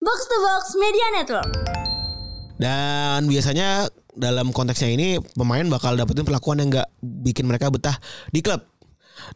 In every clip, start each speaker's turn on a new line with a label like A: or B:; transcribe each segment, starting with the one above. A: Box to Box Media Network.
B: Dan biasanya dalam konteksnya ini pemain bakal dapetin perlakuan yang nggak bikin mereka betah di klub.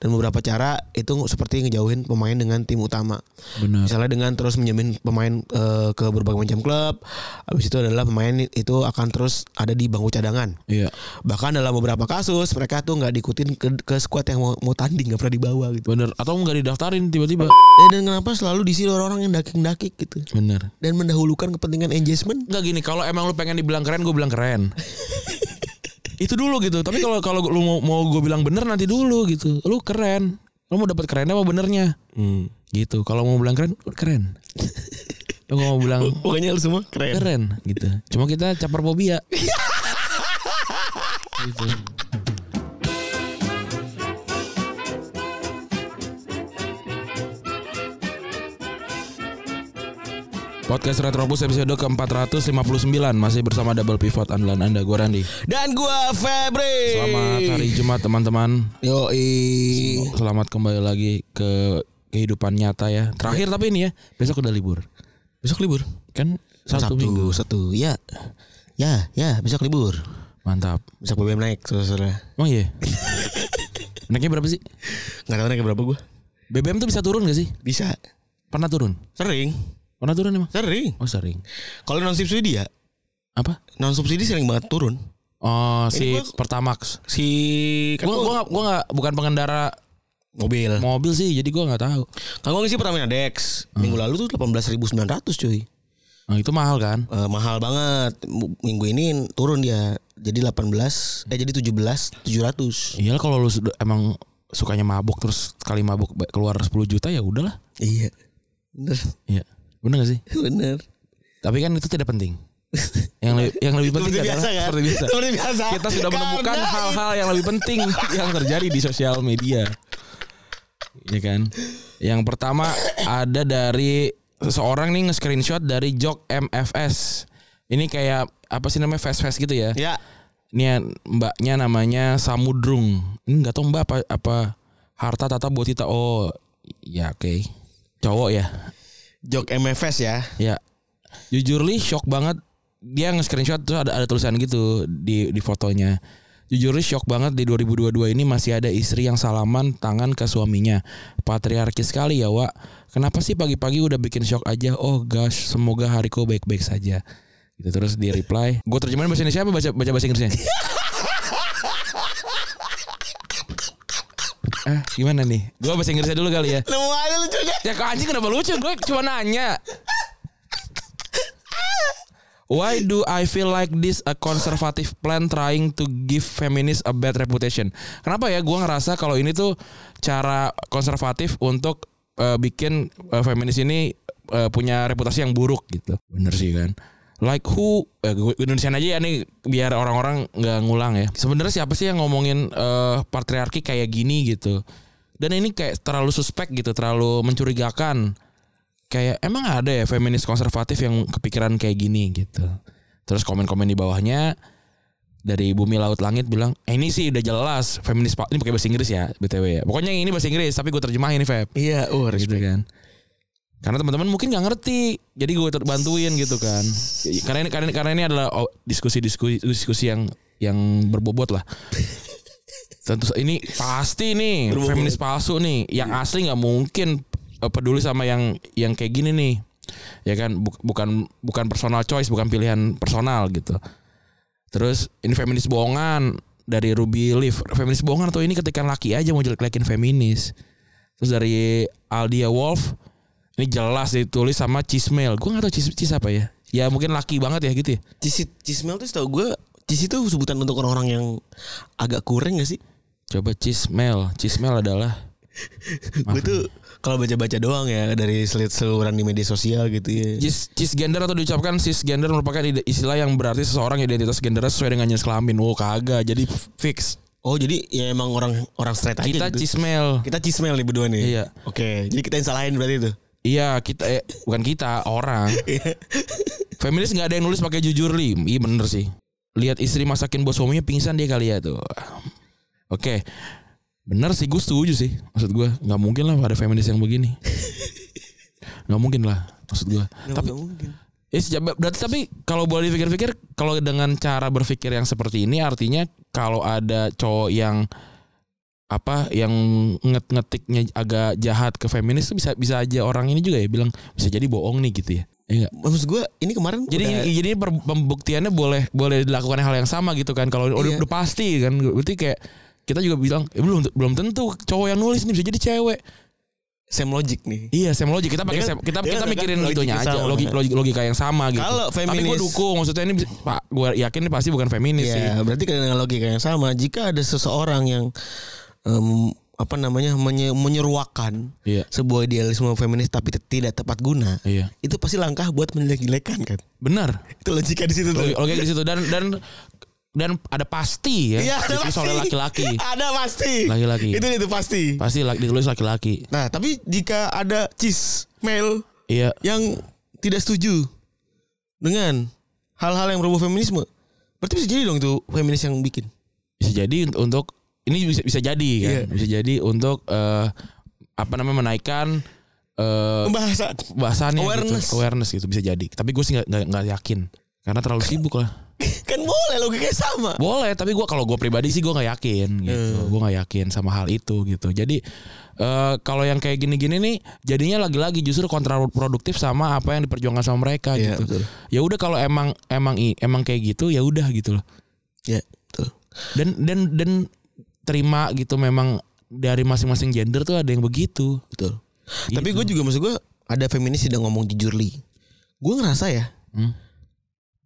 B: Dan beberapa cara itu seperti ngejauhin pemain dengan tim utama.
C: Benar.
B: Misalnya dengan terus menjamin pemain eh, ke berbagai macam klub. Habis itu adalah pemain itu akan terus ada di bangku cadangan.
C: Iya.
B: Bahkan dalam beberapa kasus mereka tuh nggak diikutin ke, ke squad yang mau, mau tanding nggak pernah dibawa gitu.
C: Bener. Atau nggak didaftarin tiba-tiba.
B: Eh, Dan kenapa selalu diisi orang-orang yang dakik-dakik gitu
C: Bener.
B: dan mendahulukan kepentingan engagement?
C: Nggak gini. Kalau emang lu pengen dibilang keren, gue bilang keren. itu dulu gitu. Tapi kalau kalau lu mau, mau gue bilang bener nanti dulu gitu. Lu keren. Lu mau dapat kerennya apa benernya? Gitu. Kalau mau bilang keren, keren. Lu nggak mau bilang
B: Pokoknya lu semua keren.
C: keren gitu. Cuma kita caper fobia. gitu. Podcast Retropus episode ke-459 Masih bersama Double Pivot Andalan Anda Gue Randi
B: Dan gua Febri.
C: Selamat hari Jumat teman-teman
B: Yoi.
C: Selamat kembali lagi ke kehidupan nyata ya Terakhir tapi ini ya Besok udah libur
B: Besok libur.
C: Kan
B: Sabtu,
C: satu minggu
B: Sabtu. Ya. Ya, ya, besok libur.
C: Mantap
B: Besok BBM naik, saudara.
C: Emang iya? Naiknya berapa sih?
B: Enggak tahu naik berapa gua.
C: BBM tuh bisa turun gak sih?
B: Bisa.
C: Pernah turun?
B: Sering.
C: Pernah turun emang?
B: Sering.
C: Oh sering.
B: Kalau non subsidi ya,
C: Apa?
B: non subsidi sering banget turun.
C: Oh si
B: Ini gua-
C: Pertamax.
B: Si kan gua-
C: Gua gua gak, gua gak, bukan pengendara
B: mobil.
C: mobil sih, jadi gua nggak tahu.
B: Kan gua ngisi Pertamina Dex. Minggu
C: Hmm.
B: lalu tuh 18.900 cuy.
C: Nah, itu mahal kan?
B: Eh, mahal banget. M- Minggu ini turun dia jadi 18 eh jadi 17.700.
C: Iyalah Iya, kalau lu sudah- emang sukanya mabuk terus sekali mabuk ba- keluar 10 juta ya udahlah.
B: Iya. Bener.
C: Iya. Bener gak sih?
B: Bener.
C: Tapi kan itu tidak penting. yang lebih, yang lebih penting adalah seperti biasa. kan?
B: kan? Seperti biasa.
C: Kita sudah menemukan
B: Karena
C: hal-hal yang lebih penting yang terjadi di sosial media. Ya kan? Yang pertama ada dari seseorang nih nge-screenshot dari Jok MFS. Ini kayak apa sih namanya fest-fest gitu ya.
B: Ya.
C: Ini ya, mbaknya namanya Samudrung. Ini enggak tahu mbak apa apa harta tata botita. Oh, ya oke. Cowok ya.
B: Jok MFS ya.
C: Ya. Jujur li shock banget dia nge-screenshot tuh ada ada tulisan gitu di di fotonya. Jujur li shock banget di 2022 ini masih ada istri yang salaman tangan ke suaminya. Patriarki sekali ya, Wak. Kenapa sih pagi-pagi udah bikin shock aja? Oh gosh, semoga hariku baik-baik saja. Gitu terus dia reply, "Gue terjemahin bahasa Indonesia apa baca baca bahasa Inggrisnya?" Eh, gimana nih? Gua bahasa Inggrisnya dulu kali ya.
B: Lu aja lucunya.
C: Ya kok anjing kenapa lucu Gue cuma nanya Why do I feel like this a conservative plan trying to give feminist a bad reputation? Kenapa ya gue ngerasa kalau ini tuh cara konservatif untuk eh, bikin eh, feminis ini eh, punya reputasi yang buruk gitu. Bener sih kan. Like who eh, gue- Indonesian aja ya nih biar orang-orang nggak ngulang ya. Sebenarnya siapa sih yang ngomongin eh, patriarki kayak gini gitu? Dan ini kayak terlalu suspek gitu, terlalu mencurigakan kayak emang ada ya feminis konservatif yang kepikiran kayak gini gitu. Terus komen-komen di bawahnya dari bumi laut langit bilang, eh, ini sih udah jelas feminis pa- ini pakai bahasa Inggris ya btw ya. Pokoknya yang ini bahasa Inggris tapi gue terjemahin nih Feb.
B: Iya, oh
C: Gitu kan. Karena teman-teman mungkin nggak ngerti, jadi gue ter- bantuin gitu kan. Karena ini karena ini, karena ini adalah oh, diskusi-diskusi diskusi yang yang berbobot lah. Tentu sa- ini pasti nih
B: Berbobot.
C: feminis palsu nih, yang asli nggak mungkin eh, peduli sama yang yang kayak gini nih. Ya kan Buk- bukan bukan personal choice, bukan pilihan personal gitu. Terus ini feminis bohongan dari Ruby Leaf. Feminis bohongan atau ini ketikan laki aja mau jelek-jelekin feminis. Terus dari Aldia Wolf ini jelas ditulis sama Cismel. Gue gak tau Cis, Cis apa ya. Ya mungkin laki banget ya gitu ya.
B: Cisit Cismel tuh tau gue Cis itu sebutan untuk orang-orang yang agak kurang gak sih?
C: Coba Cismel. Cismel adalah
B: Gue tuh kalau baca-baca doang ya dari seluruhan di media sosial gitu ya.
C: cis, cisgender atau diucapkan cisgender merupakan ide- istilah yang berarti seseorang identitas gendernya sesuai dengan jenis kelamin. Wow kagak. Jadi fix.
B: Oh jadi ya emang orang orang straight aja
C: Kita
B: gitu.
C: Cismel.
B: kita cismel nih berdua nih.
C: Iya.
B: Oke, jadi kita yang salahin berarti itu.
C: Iya kita eh, bukan kita orang. Feminis nggak ada yang nulis pakai jujur li. Iya bener sih. Lihat istri masakin buat suaminya pingsan dia kali ya tuh. Oke. Bener sih gue setuju sih. Maksud gue nggak mungkin lah ada feminis yang begini. Nggak mungkin lah. maksud gue. Tapi
B: nggak mungkin.
C: Ya, sejak- berarti tapi kalau boleh dipikir-pikir kalau dengan cara berpikir yang seperti ini artinya kalau ada cowok yang apa yang nget ngetiknya agak jahat ke feminis tuh bisa bisa aja orang ini juga ya bilang bisa jadi bohong nih gitu ya. Iya nggak?
B: Maksud gue ini kemarin
C: Jadi
B: udah-
C: jadi per- pembuktiannya boleh boleh dilakukan hal yang sama gitu kan kalau udah,
B: Iya.
C: udah pasti kan berarti kayak kita juga bilang "Eh, belum belum tentu cowok yang nulis nih bisa jadi cewek.
B: same logic nih.
C: Iya, same logic. Kita pakai
B: Dia kan-
C: same- kita
B: dia
C: kita
B: kan
C: mikirin
B: logik
C: gitunya
B: yang
C: aja,
B: sama.
C: logik, logik logika yang sama gitu.
B: Kalau
C: Tapi gue
B: feminis-
C: dukung, maksudnya ini bisa- Pak, gue yakin ini pasti bukan feminis sih.
B: Iya, berarti kan dengan logika yang sama. Jika ada seseorang yang em, apa namanya menye- menyeruakan
C: Iya.
B: sebuah idealisme feminis tapi te- tidak tepat guna,
C: Iya.
B: itu pasti langkah buat menjelek-jelekan kan.
C: Benar.
B: Itu logika di situ
C: Logik,
B: tuh.
C: logik di situ dan dan dan ada pasti ya.
B: Iya, ada
C: ditulis oleh laki-laki.
B: Ada pasti.
C: Laki-laki.
B: Itu itu pasti.
C: Pasti laki, ditulis laki-laki.
B: Nah, tapi jika ada cis male
C: Iya.
B: yang tidak setuju dengan hal-hal yang berubah feminisme, berarti bisa jadi dong itu feminis yang bikin.
C: Bisa jadi unt- untuk ini bisa bisa jadi kan.
B: Iya.
C: Bisa jadi untuk eh, apa namanya menaikkan eh
B: Pembahasan.
C: bahasannya
B: Awareness.
C: gitu. awareness gitu bisa jadi. Tapi gue sih nggak- nggak nggak yakin karena terlalu sibuk lah.
B: kan boleh logikanya sama.
C: Boleh, tapi gua kalau gue pribadi sih gua nggak yakin gitu.
B: Hmm.
C: Gua nggak yakin sama hal itu gitu. Jadi eh kalau yang kayak gini-gini nih jadinya lagi-lagi justru kontraproduktif sama apa yang diperjuangkan sama mereka
B: Iya,
C: gitu.
B: betul.
C: Ya udah kalau emang emang i- emang kayak gitu ya udah gitu loh.
B: Ya, betul.
C: Dan dan dan terima gitu memang dari masing-masing gender tuh ada yang begitu.
B: Betul.
C: Iya
B: Tapi gue juga maksud gue ada feminis tidak ngomong jujur li. Gue ngerasa ya
C: Hmm.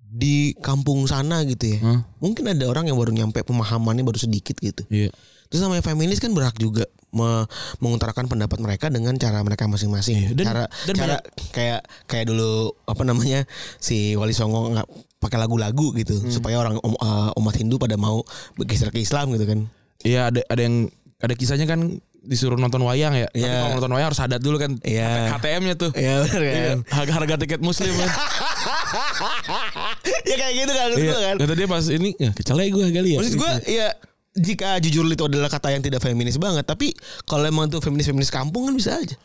B: di kampung sana gitu ya.
C: Hmm.
B: Mungkin ada orang yang baru nyampe pemahamannya baru sedikit gitu.
C: Iya.
B: Terus namanya feminis kan berhak juga me- mengutarakan pendapat mereka dengan cara mereka masing-masing.
C: Iya, dan-
B: cara
C: dan
B: cara kayak kayak dulu apa namanya si Wali Songo nggak pakai lagu-lagu gitu
C: Hmm.
B: supaya orang om- eh, umat Hindu pada mau bergeser ke Islam gitu kan.
C: Iya ada ada yang ada kisahnya kan disuruh nonton wayang ya. Tapi
B: Iya.
C: kalau nonton wayang harus adat dulu kan
B: Iya.
C: HTM-nya tuh.
B: Iya benar
C: Iya,
B: kan.
C: Harga-harga tiket muslim kan.
B: ya kayak gitu kan betul
C: Iya,
B: kan.
C: Kata dia pas ini ya, kecelai gue kali ya.
B: Maksud gue ya jika jujur itu adalah kata yang tidak feminis banget, tapi kalau emang itu feminis-feminis kampung kan bisa aja.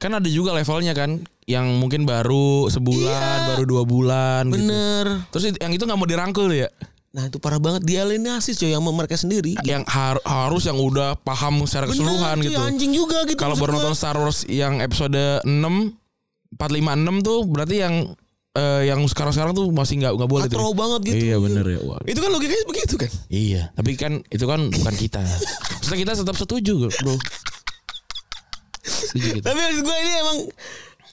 C: kan ada juga levelnya kan yang mungkin baru sebulan,
B: Iya.
C: baru dua bulan gitu.
B: Bener.
C: Terus itu- yang itu nggak mau dirangkul ya.
B: Nah itu parah banget dialienasi cuy yang sama mereka sendiri.
C: Yang har- harus yang udah paham secara
B: Bener,
C: Iya, keseluruhan
B: cuy,
C: gitu.
B: Anjing juga gitu.
C: Kalau
B: maksud
C: baru
B: gua.
C: nonton Star Wars yang episode 6 456 tuh berarti yang eh, yang sekarang-sekarang tuh masih nggak nggak boleh
B: Katro
C: tuh.
B: banget gitu.
C: Iya bener ya. Wah,
B: Itu kan logikanya begitu kan.
C: Iya, tapi kan itu kan bukan kita. Maksudnya kita tetap setuju, Bro. Setuju kita.
B: Tapi maksud gue ini emang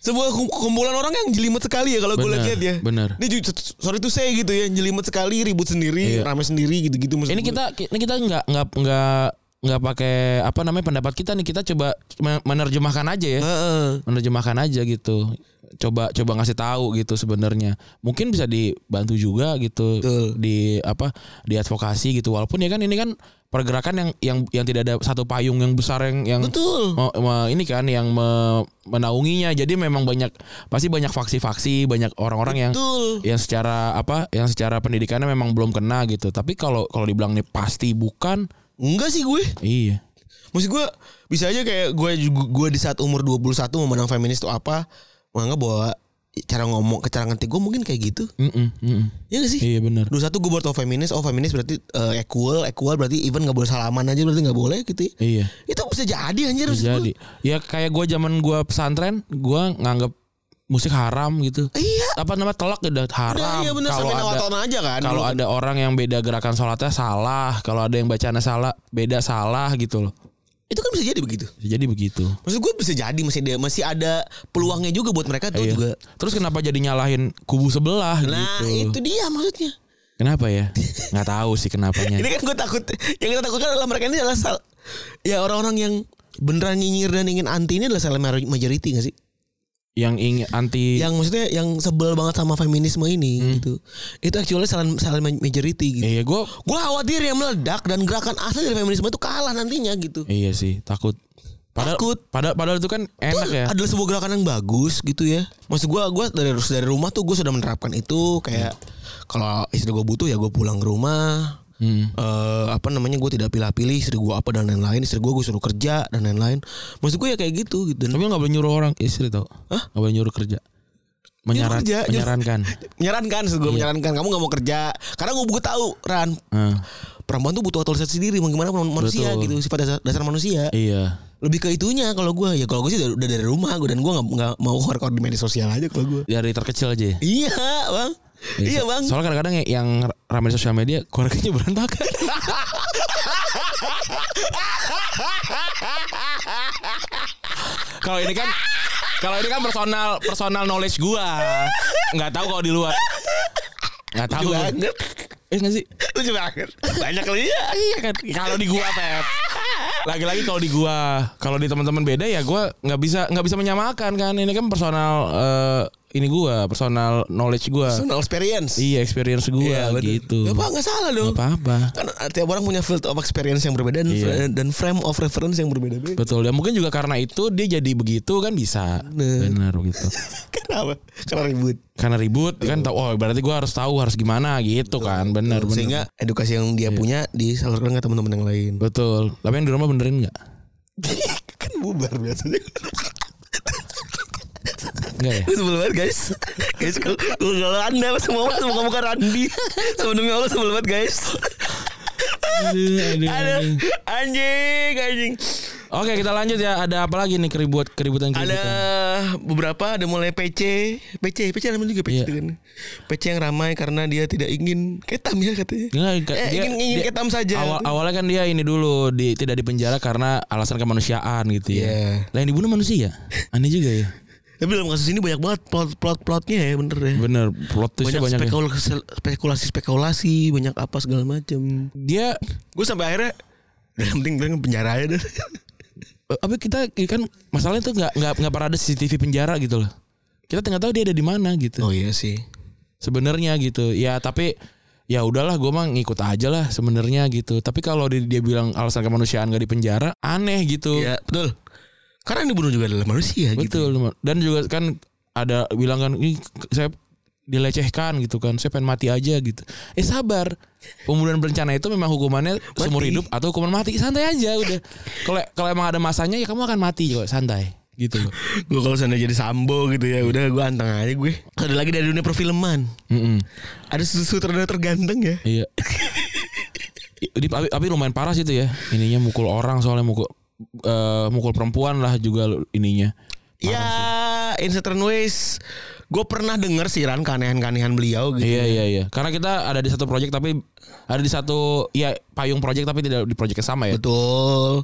B: sebuah kum- kumpulan orang yang jelimet sekali ya kalau gue
C: Bener,
B: lihat ya.
C: bener.
B: Dia ju- sorry tuh saya gitu ya, jelimet sekali, ribut sendiri,
C: Iya.
B: rame sendiri gitu-gitu maksud
C: ini
B: gua.
C: kita ini kita nggak nggak nggak nggak pakai apa namanya pendapat kita nih kita coba me- menerjemahkan aja ya
B: Heeh.
C: menerjemahkan aja gitu coba coba ngasih tahu gitu sebenarnya mungkin bisa dibantu juga gitu
B: Betul.
C: di apa di advokasi gitu walaupun ya kan ini kan pergerakan yang yang yang tidak ada satu payung yang besar yang yang
B: Betul.
C: me- me- ini kan yang me- menaunginya jadi memang banyak pasti banyak faksi-faksi banyak orang-orang yang
B: Betul.
C: yang secara apa yang secara pendidikannya memang belum kena gitu tapi kalau kalau dibilang nih pasti bukan
B: Enggak sih gue.
C: iya
B: Maksud gue bisa aja kayak gue gue di saat umur 21 memandang feminis itu apa menganggap bahwa cara ngomong cara ngetik gue mungkin kayak gitu
C: Mm-mm, mm-mm.
B: ya gak sih
C: iya benar
B: 21 gue baru tau feminis oh feminis berarti eh, equal equal berarti even gak boleh salaman aja berarti gak boleh gitu ya.
C: iya
B: itu bisa jadi anjir maksud gua.
C: jadi ya kayak gua zaman gua pesantren gua nganggap musik haram gitu
B: iya
C: apa nama telak udah
B: benar
C: haram
B: iya benar
C: kalau
B: sampai
C: ada
B: awal tahun aja kan
C: kalau ada orang yang beda gerakan sholatnya salah kalau ada yang bacaannya salah beda salah gitu loh
B: itu kan bisa jadi begitu
C: jadi begitu
B: maksud gue bisa jadi masih ada masih ada peluangnya juga buat mereka tuh
C: Iya.
B: juga
C: terus kenapa jadi nyalahin kubu sebelah
B: nah
C: gitu
B: itu dia maksudnya
C: kenapa ya nggak tahu sih kenapanya
B: Ini kan gue takut Yang kita takutkan adalah mereka ini adalah sal Ya orang-orang yang beneran nyinyir dan ingin anti ini adalah salah majority gak sih?
C: yang ingin anti
B: Yang maksudnya yang sebel banget sama feminisme ini gitu Itu actually salah, salah majority gitu
C: Iya gue
B: Gue khawatir yang meledak dan gerakan asli dari feminisme itu kalah nantinya gitu
C: Iya sih takut Padahal
B: Takut.
C: Padahal, padahal itu kan enak ya
B: Adalah sebuah gerakan yang bagus gitu ya Maksud gue gua dari, dari rumah tuh gue sudah menerapkan itu Kayak kalau istri gue butuh ya gue pulang ke rumah
C: Hmm.
B: eh apa namanya gue tidak pilih-pilih istri gue apa dan lain-lain istri gue gue suruh kerja dan lain-lain maksud gue ya kayak gitu gitu
C: Tapi nggak boleh nyuruh orang istri tau
B: Hah?
C: Gak boleh nyuruh kerja Menyaran,
B: kerja, nyuruh-
C: menyarankan.
B: menyarankan gue
C: Iya.
B: menyarankan kamu nggak mau kerja karena gue gue tahu Ran
C: Eh,
B: perempuan tuh butuh otoritas sendiri mau gimana pun manusia
C: Betul.
B: gitu sifat dasar, dasar manusia
C: iya.
B: lebih ke itunya kalau gue ya kalau gue sih udah, udah dari rumah gue dan gue nggak nggak mau hardcore di media sosial aja kalau gue
C: Dari terkecil aja. ya?
B: iya bang iya
C: so-
B: bang
C: Soalnya kadang-kadang ya, yang- yang ramai di sosial media keluarganya berantakan. kalau ini kan kalau ini kan personal personal knowledge gua. Nggak tahu kalau di luar. Nggak tahu.
B: Lucu banget
C: Eh nggak sih?
B: lucu banget banyak kali ya iya kan
C: Kalau di gua Pep. Lagi-lagi kalau di gua, kalau di teman-teman beda ya gua nggak bisa nggak bisa menyamakan kan. Ini kan personal eh, ini gua, personal knowledge gua.
B: personal experience
C: Iya, experience gua
B: bener.
C: gitu.
B: Gak apa nggak salah dong
C: Nggak apa-apa.
B: kan tiap orang punya field of experience yang berbeda dan,
C: Iya.
B: dan frame of reference yang berbeda-beda
C: Betul. Dan mungkin juga karena itu dia jadi begitu kan bisa. Benar begitu.
B: kenapa karena ribut
C: Karena ribut kan tahu oh berarti gua harus tahu harus gimana gitu kan. Benar benar. Iya.
B: sehingga edukasi yang dia punya disalurkan ke teman-teman yang lain
C: betul. Tapi yang di rumah benerin nggak?
B: kan bubar biasanya
C: Enggak ya?
B: Gue sebel banget guys Guys kalau kalau anda Semua orang semua muka Randi Sebelumnya Allah sebel banget guys
C: Aduh, aduh, aduh.
B: Aduh Anjing Anjing
C: Oke, kita lanjut ya. Ada apa lagi nih keribut keributan
B: Ada
C: keributan?
B: beberapa Ada mulai PC PC PC namanya juga
C: gitu. Iya.
B: PC itu kan PC yang ramai Karena dia tidak ingin Ketam ya katanya
C: Enggak,
B: Eh, ingin- ingin ketam saja.
C: Awal, awalnya kan dia ini dulu di, tidak dipenjara karena alasan kemanusiaan gitu ya.
B: Iya.
C: Lah yang dibunuh manusia. Aneh juga ya.
B: Tapi dalam kasus ini banyak banget plot, plot plotnya ya bener ya
C: Bener, plot twistnya
B: Banyak
C: banyak. ya.
B: spekulasi, spekulasi spekulasi Banyak apa segala macam
C: Dia
B: Gue sampai akhirnya Yang penting penting penjara aja deh
C: Eh, apa kita ya kan masalahnya tuh nggak nggak nggak pernah ada CCTV penjara gitu loh kita nggak tahu dia ada di mana gitu
B: Oh iya sih
C: sebenarnya gitu ya tapi ya udahlah gue mah ngikut aja lah sebenarnya gitu tapi kalau di- dia, bilang alasan kemanusiaan gak di penjara aneh gitu
B: Iya betul Karena yang dibunuh juga adalah manusia gitu
C: betul dan juga kan ada bilang kan "Ih, saya dilecehkan gitu kan saya pengen mati aja gitu eh sabar pembunuhan berencana itu memang hukumannya seumur hidup atau hukuman mati santai aja udah kalau kalau emang ada masanya ya kamu akan mati kok santai gitu loh
B: gue kalau sana jadi sambo gitu ya udah gue anteng aja gue ada lagi dari dunia perfilman
C: Mm-mm.
B: ada sutradara terganteng ya
C: Iya. Di, tapi, tapi lumayan parah sih itu ya. Ininya mukul orang soalnya mukul eh, mukul perempuan lah juga lu- ininya.
B: ya in certain ways gue pernah denger sih Ran keanehan-keanehan beliau gitu
C: Iya iya iya. Karena kita ada di satu project tapi ada di satu ya payung project tapi tidak di project yang sama ya.
B: betul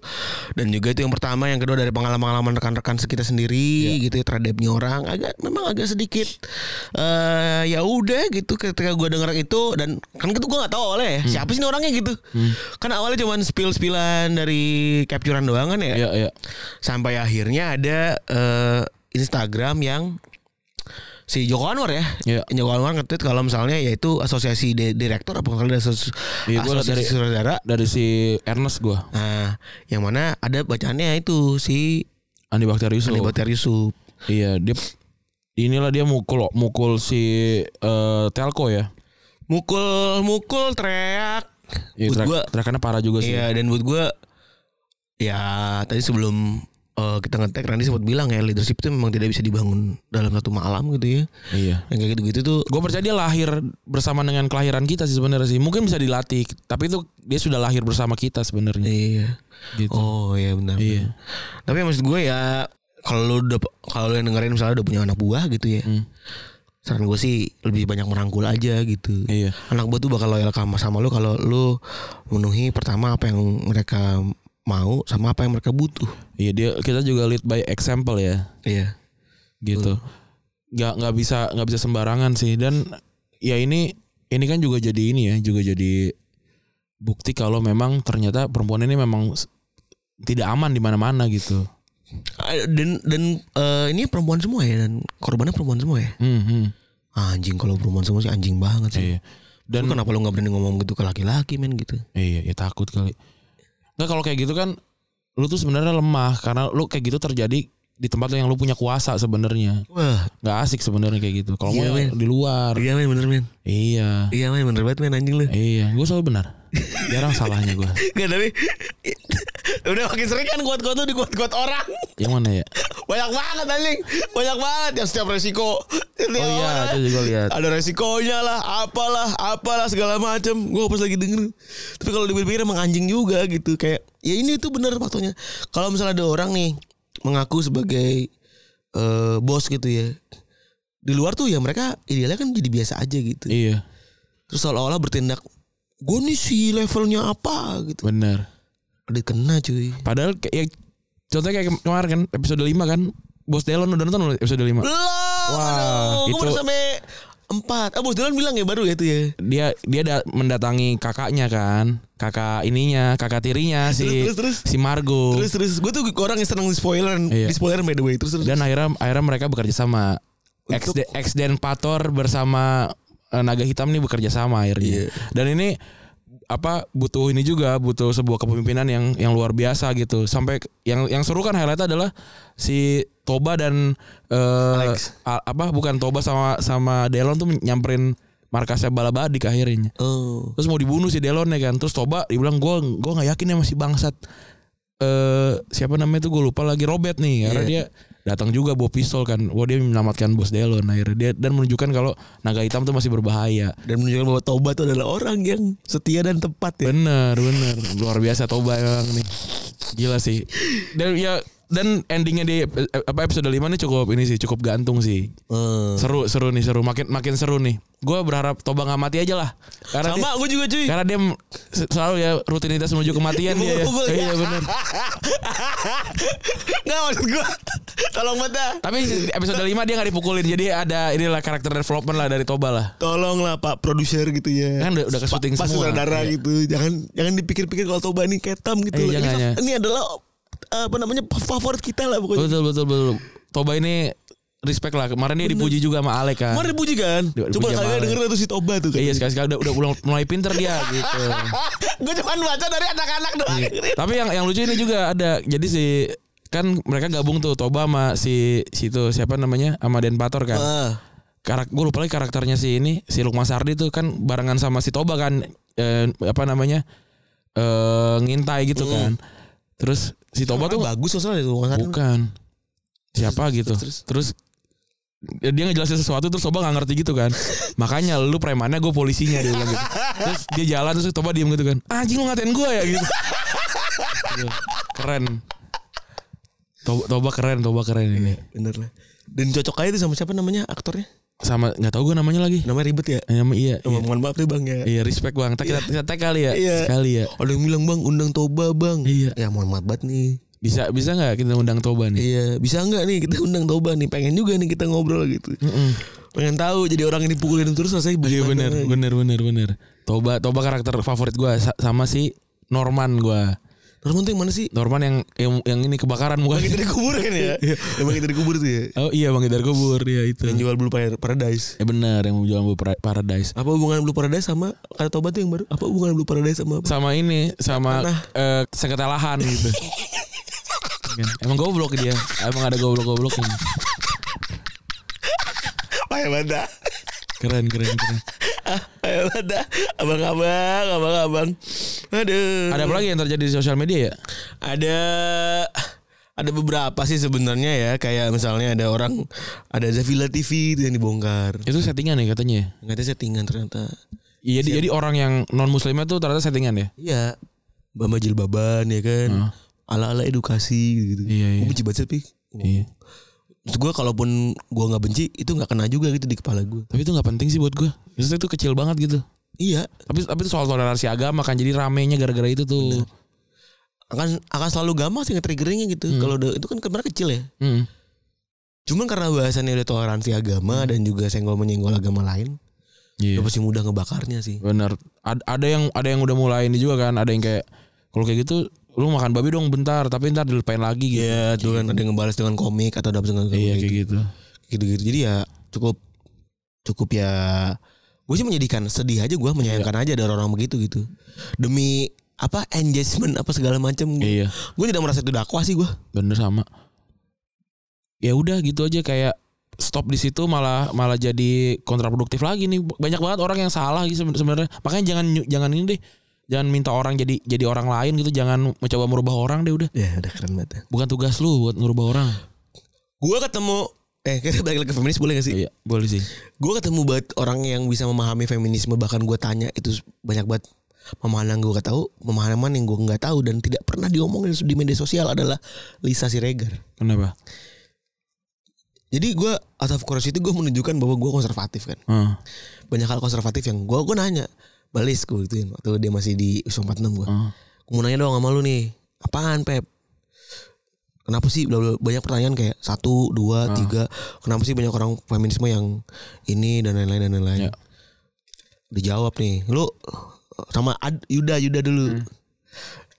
B: dan juga itu yang pertama yang kedua dari pengalaman-pengalaman rekan-rekan kita sendiri gitu ya terhadapnya orang agak memang agak sedikit eh ya udah gitu ketika gue denger itu dan kan itu gue nggak tahu oleh siapa sih ini orangnya gitu kan awalnya cuman spill-spillan dari capturean doang kan ya
C: Iya iya.
B: sampai akhirnya ada eh, Instagram yang si Joko Anwar ya,
C: Iya.
B: Joko Anwar nge-tweet kalau misalnya yaitu asosiasi di- direktur apa kalau asos
C: Iya, gua
B: asosiasi
C: dari-
B: saudara,
C: Dari si Ernest gua,
B: nah yang mana ada bacaannya itu si
C: Andi Bakterius.
B: Andi Baktiar Yusuf.
C: Iya, dia inilah dia mukul mukul si eh, Telco ya.
B: mukul mukul teriak,
C: Iya,
B: buat
C: terak-
B: gua
C: terakannya parah juga sih.
B: Iya dan buat gue ya tadi sebelum eh, kita ngetek Randy sempat bilang ya leadership itu memang tidak bisa dibangun dalam satu malam gitu ya.
C: iya.
B: Yang kayak gitu-gitu tuh
C: Gue percaya dia lahir bersama dengan kelahiran kita sih sebenarnya sih. Mungkin bisa dilatih, tapi itu dia sudah lahir bersama kita sebenarnya.
B: Iya.
C: Gitu.
B: Oh iya benar.
C: Iya.
B: Tapi maksud gue ya kalau lu udah kalau lu yang dengerin misalnya udah punya anak buah gitu ya.
C: Hmm.
B: Saran gue sih lebih banyak merangkul aja gitu.
C: Iya.
B: Anak buah tuh bakal loyal sama sama lu kalau lu memenuhi pertama apa yang mereka mau sama apa yang mereka butuh.
C: Iya dia kita juga lead by example ya,
B: Iya.
C: gitu. Gak nggak bisa nggak bisa sembarangan sih dan ya ini ini kan juga jadi ini ya juga jadi bukti kalau memang ternyata perempuan ini memang s- tidak aman di mana-mana gitu.
B: Dan dan eh, ini perempuan semua ya dan korbannya perempuan semua ya.
C: Hmm, hmm.
B: Anjing kalau perempuan semua sih anjing banget sih.
C: Iya. Dan
B: Dan kenapa lu nggak berani ngomong gitu ke laki-laki men gitu?
C: Iya, ya takut kali. Enggak kalau kayak gitu kan lu tuh sebenarnya lemah karena lu kayak gitu terjadi di tempat yang lu punya kuasa sebenarnya.
B: Wah,
C: Nggak asik sebenarnya kayak gitu. Kalau
B: Iya,
C: mau ya
B: men.
C: di luar.
B: iya men bener men.
C: Iya.
B: Iya men bener banget men anjing lu.
C: Iya, gue selalu benar. Jarang salahnya gue.
B: Gak tapi Udah makin sering kan kuat-kuat tuh dikuat-kuat orang.
C: Yang mana ya?
B: Banyak banget anjing. Banyak banget yang setiap resiko. Setiap
C: Oh iya,
B: orang.
C: itu juga lihat.
B: Ada resikonya lah, apalah, apalah segala macem. Gue pas lagi denger. Tapi kalau dipikir-pikir emang anjing juga gitu. Kayak ya ini tuh bener faktornya. Kalau misalnya ada orang nih mengaku sebagai eh, bos gitu ya. Di luar tuh ya mereka idealnya kan jadi biasa aja gitu.
C: Iya,
B: Terus seolah-olah bertindak gue nih si levelnya apa gitu.
C: benar.
B: Dikena cuy.
C: Padahal kayak ya, contohnya kayak kem- kemarin kan episode 5 kan. Bos Delon udah nonton belum episode 5.
B: Belum.
C: Wah,
B: Wah, gue
C: itu-
B: baru sampai empat. Ah, Bos Dylan bilang ya baru ya itu ya.
C: Dia dia da- mendatangi kakaknya kan. Kakak ininya, kakak tirinya si
B: Terus, terus, terus.
C: si Margo.
B: Terus terus gue tuh orang yang seneng spoileran,
C: Iya.
B: di spoileran by the way. Terus terus.
C: Dan akhirnya akhirnya mereka bekerja sama. Ex
B: Untuk-
C: ex Den Pator bersama eh, Naga Hitam nih bekerja sama
B: Iya.
C: akhirnya. Dan ini apa butuh ini juga butuh sebuah kepemimpinan yang yang luar biasa gitu. Sampai yang yang seru kan highlight adalah si Toba dan eh,
B: Alex.
C: a- apa bukan Toba sama sama Delon tuh nyamperin markasnya Balabadik akhirnya.
B: oh.
C: Terus mau dibunuh si Delon ya kan. Terus Toba dibilang gua gua nggak yakin ya masih bangsat. Eh siapa namanya tuh gue lupa lagi Robert nih karena
B: Iya.
C: dia datang juga bawa pistol kan. Wah dia menyelamatkan bos Delon akhirnya dia dan menunjukkan kalau naga hitam tuh masih berbahaya.
B: Dan menunjukkan bahwa Toba tuh adalah orang yang setia dan tepat ya.
C: Bener bener luar biasa Toba emang nih. Gila sih. Dan ya dan endingnya di eh, apa episode 5 nih cukup ini sih cukup gantung sih.
B: Hmm.
C: Seru seru nih seru makin makin seru nih. Gua berharap Toba nggak mati aja lah. Karena dia-
B: Sama gue juga cuy.
C: Karena dia m- se- selalu ya rutinitas menuju kematian dia ya.
B: Dipukul-pukul, ya.
C: Iya benar.
B: Nggak maksud gue. Tolong mata.
C: Tapi di episode 5 dia gak dipukulin. Jadi ada inilah karakter development lah dari Toba lah.
B: Tolonglah Pak produser gitu ya.
C: Kan udah, udah ke syuting
B: Pas
C: semua.
B: sutradara
C: Iya.
B: gitu. Jangan jangan dipikir-pikir kalau Toba ini ketam gitu.
C: Eh,
B: loh.
C: jangan,
B: ini,
C: ya.
B: ini adalah apa namanya favorit kita lah pokoknya.
C: Betul betul betul. Toba ini respect lah. Kemarin dia dipuji juga sama Alek kan.
B: Kemarin dipuji kan?
C: Dipuji
B: Coba
C: sama
B: kalian
C: Ale.
B: denger tuh si Toba tuh kan.
C: Iya sekali-sekali udah, udah mulai- mulai pinter dia gitu.
B: gue cuma baca dari anak-anak doang.
C: Tapi yang yang lucu ini juga ada. Jadi si kan mereka gabung tuh Toba sama si situ siapa namanya sama Denpator kan.
B: Ah.
C: karak gue lupa lagi karakternya si ini si Lukman Sardi tuh kan barengan sama si Toba kan eh, apa namanya eh ngintai gitu
B: Hmm.
C: kan terus si Toba tuh
B: bagus soalnya itu Bang Sardi.
C: bukan siapa gitu
B: kan? terus.
C: terus, ya dia ngejelasin sesuatu terus Toba nggak ngerti gitu kan makanya lu premannya gue polisinya dia bilang gitu terus dia jalan terus Toba diem gitu kan anjing lu ngatain gue ya gitu Gila, keren Toba, Toba keren Toba keren ini
B: Bener lah. Dan cocok aja tuh sama siapa namanya aktornya?
C: sama nggak tahu gue namanya lagi
B: Namanya ribet ya.
C: Nama iya,
B: Nama
C: iya.
B: mohon maaf deh bang ya.
C: Iya respect bang. Kita kita, kita tag kali ya.
B: Iya.
C: Sekali ya.
B: Ada yang bilang bang undang Toba bang.
C: Iya.
B: Ya mohon maaf banget nih.
C: Bisa bisa nggak kita undang Toba nih?
B: Iya. Bisa nggak nih kita undang Toba nih? Pengen juga nih kita ngobrol gitu. Pengen tahu jadi orang yang dipukulin terus rasanya
C: Hmm. Iya bener bener bener bener. Toba Toba karakter favorit gua sa- sama si Norman gua.
B: Norman tuh yang mana sih?
C: Norman yang yang, yang ini kebakaran
B: Bangkit
C: mukanya.
B: dari kubur kan ya? Yang bangkit dari kubur tuh ya.
C: Oh iya Bang Idar Kubur ya itu.
B: Yang jual Blue Par- Paradise.
C: Ya bener yang jualan Bu Pra- Paradise.
B: Apa hubungan Blue Paradise sama kata Toba tuh yang baru? Apa hubungan Blue Paradise sama apa?
C: Sama ini sama
B: Tanah.
C: eh, seketelahan gitu. Kan. Emang goblok dia. Emang ada goblok-gobloknya.
B: Payah banget. dah.
C: Keren keren keren.
B: Ah, Payah banget. dah. Abang-abang, abang-abang. Aduh.
C: Ada apa lagi yang terjadi di sosial media ya?
B: ada ada beberapa sih sebenarnya ya kayak misalnya ada orang ada Zavila TV itu yang dibongkar
C: Itu settingan ya katanya. ya?
B: nggak ada settingan ternyata
C: Iya, jadi, jadi orang yang non muslimnya tuh ternyata settingan ya.
B: iya Bamba Jilbaban ya kan ala-ala edukasi gitu
C: Iya, iya.
B: Gua benci banget tapi
C: Iya.
B: Maksud gue kalaupun gue nggak benci itu nggak kena juga gitu di kepala gue
C: Tapi itu nggak penting sih buat gue. Justru itu kecil banget gitu.
B: iya
C: Tapi tapi itu soal toleransi agama kan jadi ramenya gara-gara itu tuh.
B: akan akan selalu gampang sih nge-triggeringnya gitu kalau udah- itu kan kemarin kecil ya
C: Mm.
B: cuman karena bahasannya udah toleransi agama dan juga senggol menyenggol agama lain
C: Iya.
B: udah pasti mudah ngebakarnya sih
C: Bener. Ad- ada yang ada yang udah mulai ini juga kan. Ada yang kayak kalau kayak gitu lu makan babi dong bentar, tapi ntar dilupain lagi gitu.
B: Iya tuh kan ada yang ngebales dengan komik atau ada dengan komik
C: Iya kayak gitu.
B: gitu-gitu. Jadi ya cukup cukup ya gue sih menyedihkan sedih aja gue menyayangkan aja ada orang begitu gitu demi apa engagement apa segala macam gue
C: Iya.
B: tidak merasa itu dakwah sih gue
C: Bener sama. Ya udah gitu aja kayak stop di situ malah malah jadi kontraproduktif lagi nih. Banyak banget orang yang salah gitu seben- sebenarnya. Makanya jangan nyu- jangan ini deh. jangan minta orang jadi jadi orang lain gitu jangan mencoba merubah orang deh udah
B: Ya udah keren banget. ya.
C: bukan tugas lu buat ngerubah orang
B: Gue ketemu eh kita balik lagi ke feminis boleh gak sih?
C: iya boleh sih
B: Gue ketemu banget orang yang bisa memahami feminisme bahkan gue tanya itu banyak banget pemahaman yang gue gak tahu, pemahaman yang gue nggak tahu dan tidak pernah diomongin di media sosial adalah Lisa Siregar.
C: kenapa
B: Jadi gue out of curiosity gue menunjukkan bahwa gue konservatif kan.
C: Heeh.
B: Banyak hal konservatif yang gue gue nanya balis gue gituin waktu dia masih di ISO 46 gue.
C: Heeh.
B: Gue mau nanya dong sama lu nih Apaan Pep? Kenapa sih bla bla- banyak pertanyaan kayak Satu, dua, tiga Kenapa sih banyak orang feminisme yang Ini dan lain-lain dan lain-lain
C: Ya.
B: Dijawab nih Lu sama Ad- Yuda Yuda dulu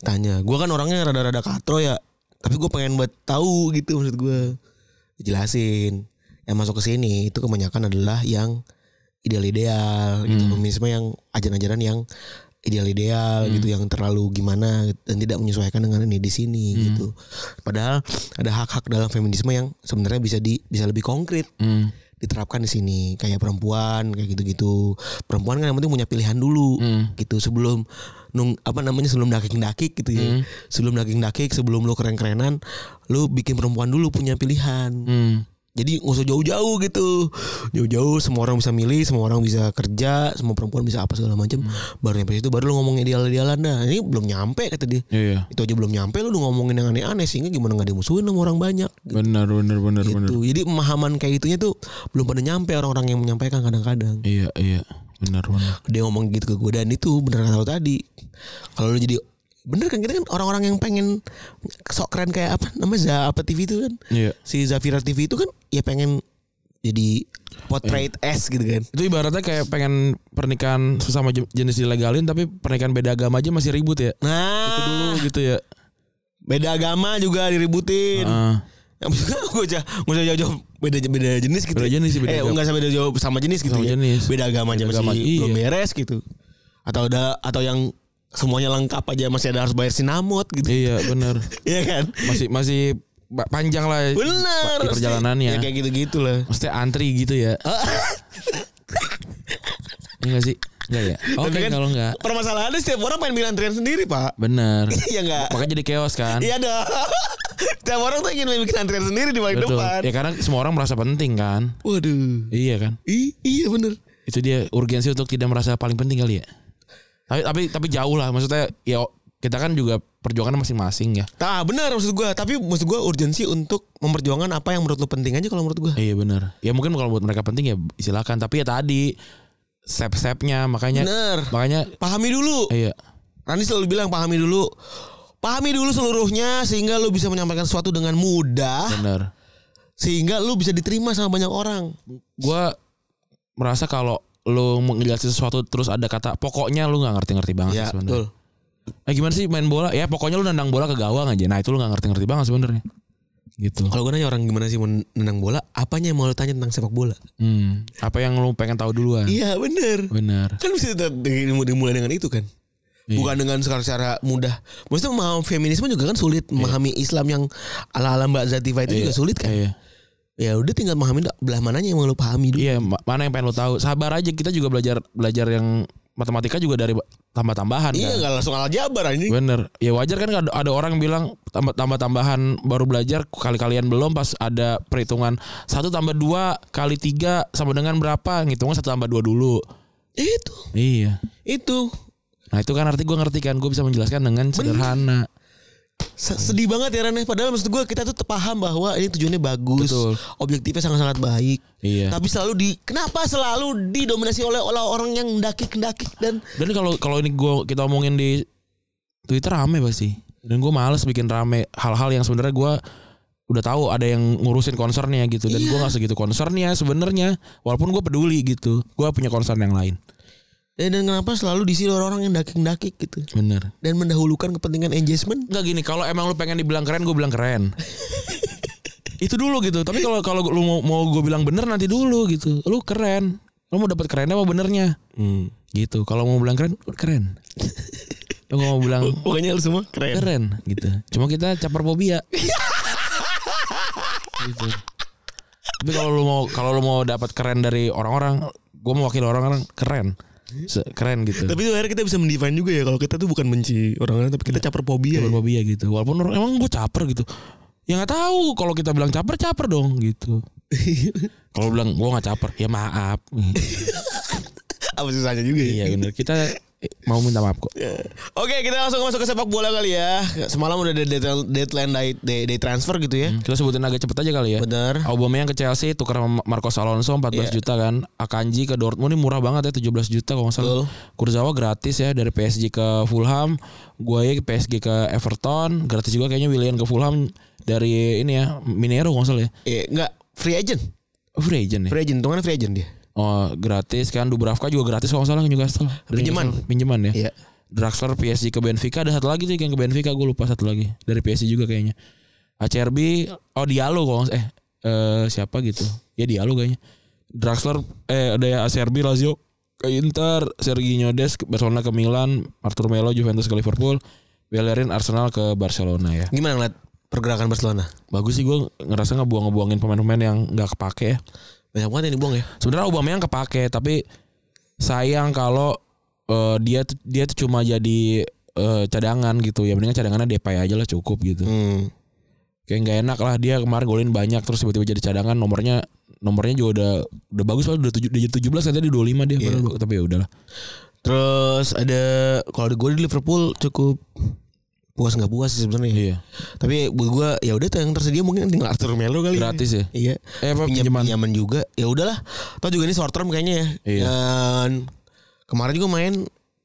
B: Tanya Gue kan orangnya rada-rada katro ya Tapi gue pengen buat tahu gitu maksud gue Jelasin Yang masuk ke sini itu kebanyakan adalah yang ideal-ideal gitu feminisme yang ajaran-ajaran yang ideal-ideal gitu yang terlalu gimana gitu, dan tidak menyesuaikan dengan ini di sini gitu padahal ada hak-hak dalam feminisme yang sebenarnya bisa di bisa lebih konkret
C: Hmm.
B: diterapkan di sini kayak perempuan kayak gitu-gitu perempuan kan yang penting punya pilihan dulu
C: Hmm.
B: gitu sebelum nung apa namanya sebelum dakik-dakik gitu ya sebelum dakik-dakik sebelum lu keren-kerenan lu bikin perempuan dulu punya pilihan
C: Hmm.
B: jadi nggak usah jauh-jauh gitu Jauh-jauh semua orang bisa milih Semua orang bisa kerja Semua perempuan bisa apa segala macam Baru nyampe situ baru lu ngomong ideal-idealan dah Ini belum nyampe kata dia
C: iya iya
B: Itu aja belum nyampe lu udah ngomongin yang aneh-aneh Sehingga gimana gak dimusuhin sama orang banyak
C: benar benar benar benar
B: Gitu. Jadi pemahaman kayak gitunya tuh Belum pada nyampe orang-orang yang menyampaikan kadang-kadang
C: iya iya benar benar
B: Dia ngomong gitu ke gue Dan itu bener kata lu tadi Kalau lu jadi Bener kan kita kan orang-orang yang pengen Sok keren kayak apa namanya Za apa TV itu kan
C: iya
B: si Zafira TV itu kan ya pengen jadi portrait
C: Eh.
B: S gitu kan.
C: itu ibaratnya kayak pengen pernikahan sesama je- jenis dilegalin tapi pernikahan beda agama aja masih ribut ya itu dulu
B: Nah,
C: gitu ya
B: beda agama juga diributin.
C: Ah.
B: Yang penting gue aja gue aja jawab beda beda jenis gitu.
C: Beda jenis sih, beda
B: eh,
C: agama.
B: enggak sama beda jawab sama jenis gitu
C: Sama
B: ya.
C: jenis.
B: Beda agama aja masih
C: Beda agama, iya.
B: belum beres gitu. Atau ada atau yang semuanya lengkap aja masih ada harus bayar sinamot gitu.
C: iya benar
B: Iya kan?
C: masih masih ba- panjang lah
B: Benar.
C: Eh, di perjalanannya.
B: Ya, kayak gitu-gitu lah.
C: mesti antri gitu ya Iya gak sih Enggak ya oke
B: Tapi kan
C: kalau enggak
B: Permasalahannya setiap orang pengen bilang antrian sendiri, Pak.
C: bener
B: Iya enggak?
C: makanya jadi chaos kan
B: Iya dong. Setiap orang tuh ingin bikin antrian sendiri di paling
C: betul
B: depan.
C: ya karena semua orang merasa penting kan
B: Waduh.
C: iya kan
B: I- iya bener.
C: itu dia urgensi untuk tidak merasa paling penting kali ya tapi tapi tapi jauh lah maksudnya ya kita kan juga perjuangan masing-masing ya
B: Tah benar maksud gua, tapi maksud gua urgensi untuk memperjuangkan apa yang menurut lu penting aja kalau menurut gua.
C: Iya benar. Ya mungkin kalau buat mereka penting ya silakan. Tapi ya tadi step-stepnya makanya
B: Bener.
C: makanya
B: Pahami dulu.
C: iya
B: Rani selalu bilang pahami dulu. Pahami dulu seluruhnya sehingga lu bisa menyampaikan sesuatu dengan mudah
C: benar.
B: sehingga lu bisa diterima sama banyak orang.
C: Gua merasa kalau lu menjelaskan sesuatu terus ada kata pokoknya lu nggak ngerti-ngerti
B: Iya,
C: banget sebenarnya.
B: betul.
C: Eh gimana sih main bola? Ya pokoknya lu nendang bola ke gawang aja. Nah itu lu nggak ngerti-ngerti banget sebenarnya. Gitu.
B: Kalau gua nanya orang gimana sih menendang bola, apanya yang mau lu tanya tentang sepak bola?
C: Hmm. Apa yang lu pengen tahu duluan?
B: Iya, bener
C: Benar.
B: kan bisa tetap dimul- dimulai dengan itu kan
C: Iya.
B: bukan dengan secara, secara mudah maksudnya memahami feminisme juga kan sulit memahami Islam yang ala ala Mbak Zativa itu juga sulit kan
C: Iya. Iya.
B: ya udah tinggal memahami belah mananya yang mau lo pahami dulu
C: Iya, ma- mana yang pengen lu tahu? Sabar aja kita juga belajar belajar yang matematika juga dari ba- tambah-tambahan kan.
B: iya nggak langsung ala jabar ini
C: Bener. Ya wajar kan ada, ada orang bilang tambah tambah tambahan baru belajar kali kalian belum pas ada perhitungan satu tambah dua kali tiga sama dengan berapa ngitungnya satu tambah dua dulu.
B: itu
C: Iya.
B: itu
C: Nah itu kan arti gue ngerti kan gue bisa menjelaskan dengan sederhana.
B: Se- sedih banget ya Rane padahal maksud gue kita tuh paham bahwa ini tujuannya bagus
C: Betul.
B: objektifnya sangat-sangat baik
C: Iya.
B: tapi selalu di kenapa selalu didominasi oleh oleh orang yang mendaki mendaki dan
C: Dan kalau kalau ini gue kita omongin di Twitter rame pasti. Dan gue males bikin rame hal-hal yang sebenarnya gue udah tahu ada yang ngurusin concernnya gitu dan gue nggak segitu concernnya sebenarnya walaupun gue peduli gitu gue punya concern yang lain
B: Eh, dan kenapa selalu diisi orang-orang yang mendaki mendaki gitu
C: bener
B: dan mendahulukan kepentingan engagement
C: Enggak gini, kalau emang lu pengen dibilang keren, gue bilang keren. itu dulu gitu. Tapi kalau kalau lu mau, mau gue bilang bener nanti dulu gitu. Lu keren. Lu mau dapat kerennya apa benernya? Gitu. Kalau mau bilang keren, lu keren. Lu mau bilang
B: Pokoknya lu semua keren.
C: keren gitu. Cuma kita caper fobia. gitu. Tapi kalau lu mau kalau lu mau dapat keren dari orang-orang, gue mau wakil orang-orang keren. Se- keren gitu.
B: Tapi itu akhirnya kita bisa mendefine juga ya kalau kita tuh bukan benci orang lain tapi kita caper fobia. Ya.
C: Fobia gitu. Walaupun orang, emang gue caper gitu. Ya nggak tahu kalau kita bilang caper caper dong gitu. Kalau bilang gue nggak caper, ya maaf.
B: Apa susahnya juga ya?
C: iya benar. Kita mau minta maaf kok.
B: Oke, kita langsung masuk ke sepak bola kali ya. Semalam udah ada deadline deadline day, day, day transfer gitu ya.
C: Kita sebutin agak cepet aja kali ya.
B: Bener.
C: Aubameyang ke Chelsea tukar sama Marcos Alonso 14
B: Iya.
C: juta kan. Akanji ke Dortmund ini murah banget ya 17 juta kalau nggak
B: Betul.
C: salah. Kurzawa gratis ya dari PSG ke Fulham. Guaye ke PSG ke Everton, gratis juga kayaknya Willian ke Fulham dari ini ya Minero kalau nggak salah ya.
B: Eh, enggak free agent.
C: Free agent ya.
B: Free agent, tungan free agent dia.
C: Oh, gratis kan Dubravka juga gratis kalau nggak salah juga setelah
B: Pinjaman.
C: pinjaman ya.
B: Iya.
C: Draxler PSG ke Benfica ada satu lagi tuh yang ke Benfica gue lupa satu lagi dari PSG juga kayaknya ACRB oh Diallo kalau nggak- eh, eh siapa gitu ya Diallo kayaknya Draxler eh ada ya ACRB Lazio ke Inter Serginho Des ke Barcelona ke Milan Arthur Melo Juventus ke Liverpool Bellerin Arsenal ke Barcelona ya
B: Gimana ngeliat pergerakan Barcelona?
C: bagus sih gue ngerasa ngebuang-ngebuangin pemain-pemain yang nggak kepake ya
B: Banyak banget yang dibuang ya.
C: sebenarnya Aubameyang kepake tapi sayang kalau eh, dia tuh- dia tuh cuma jadi eh, cadangan gitu ya mendingan cadangannya Depay aja lah cukup gitu
B: Hmm.
C: kayak nggak enak lah dia kemarin golin banyak terus tiba-tiba jadi cadangan nomornya nomornya juga udah udah bagus lah udah tujuh udah tujuh belas katanya di dua lima
B: Iya.
C: dia padahal dua- tapi ya udahlah
B: Terus ada kalau gue di Liverpool cukup puas nggak puas sih sebenarnya.
C: iya
B: Tapi buat gue ya udah tuh yang tersedia mungkin tinggal Arthur Melo kali. ya.
C: gratis ya
B: Iya.
C: eh apa
B: Pinjam,
C: pinjaman
B: pinjaman juga. Ya udahlah. Tahu juga ini short term kayaknya ya.
C: Iya.
B: Dan kemarin juga main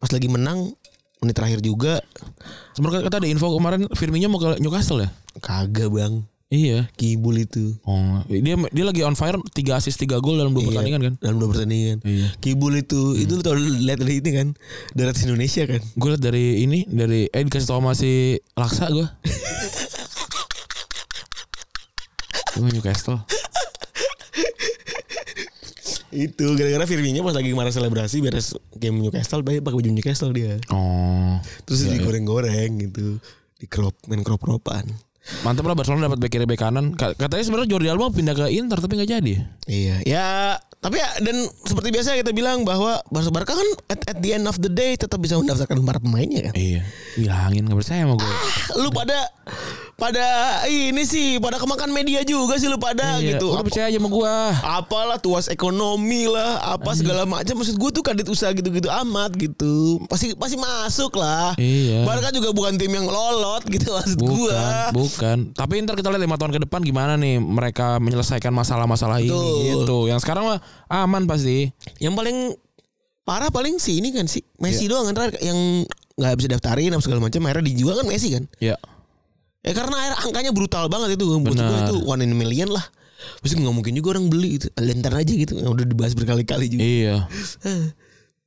B: pas lagi menang menit terakhir juga
C: sebenarnya kata ada info kemarin Firmino mau ke Newcastle ya
B: kagak bang
C: iya
B: kibul itu
C: oh dia dia lagi on fire tiga assist tiga gol dalam
B: Iya.
C: dua pertandingan kan
B: dalam dua pertandingan
C: iya
B: kibul itu itu lu tau lihat dari ini kan darat Indonesia kan
C: Gue liat dari ini dari eh dikasih tau sama si Laksa gue. Gue Newcastle.
B: itu gara-gara Firmino pas lagi kemarin selebrasi beres game Newcastle baik pakai baju Newcastle dia
C: Oh.
B: terus digoreng-goreng gitu di crop main crop cropan
C: Mantap lah Barcelona dapat bek kiri bek kanan. Ka- Katanya sebenarnya Jordi Alba mau pindah ke Inter tapi nggak jadi.
B: Iya, ya tapi ya dan seperti biasa kita bilang bahwa Barca Barca kan at, at the end of the day tetap bisa mendaftarkan para pemainnya kan.
C: Iya. Bilangin nggak percaya sama gue.
B: Lu pada pada ini sih pada kemakan media juga sih lu pada
C: Iya,
B: gitu.
C: Lu
B: Apa-
C: percaya aja sama gue.
B: apalah tuas ekonomi lah, apa segala macam maksud gue tuh kadit usaha gitu-gitu amat gitu. Pasti pasti masuk lah.
C: Iya.
B: Barca juga bukan tim yang lolot gitu maksud gue.
C: Bukan, bukan. Tapi ntar kita lihat lima tahun ke depan gimana nih mereka menyelesaikan masalah-masalah ini
B: Betul.
C: gitu. Yang sekarang mah aman pasti.
B: Yang paling parah paling si ini kan si Messi
C: Iya.
B: doang kan terakhir yang nggak bisa daftarin apa segala macam akhirnya dijual kan Messi kan.
C: Ya.
B: Ya karena akhirnya angkanya brutal banget itu Menurut gue
C: Benar.
B: itu one in a million lah Pasti nggak mungkin juga orang beli itu Lentar aja gitu Yang udah dibahas berkali-kali juga
C: Iya.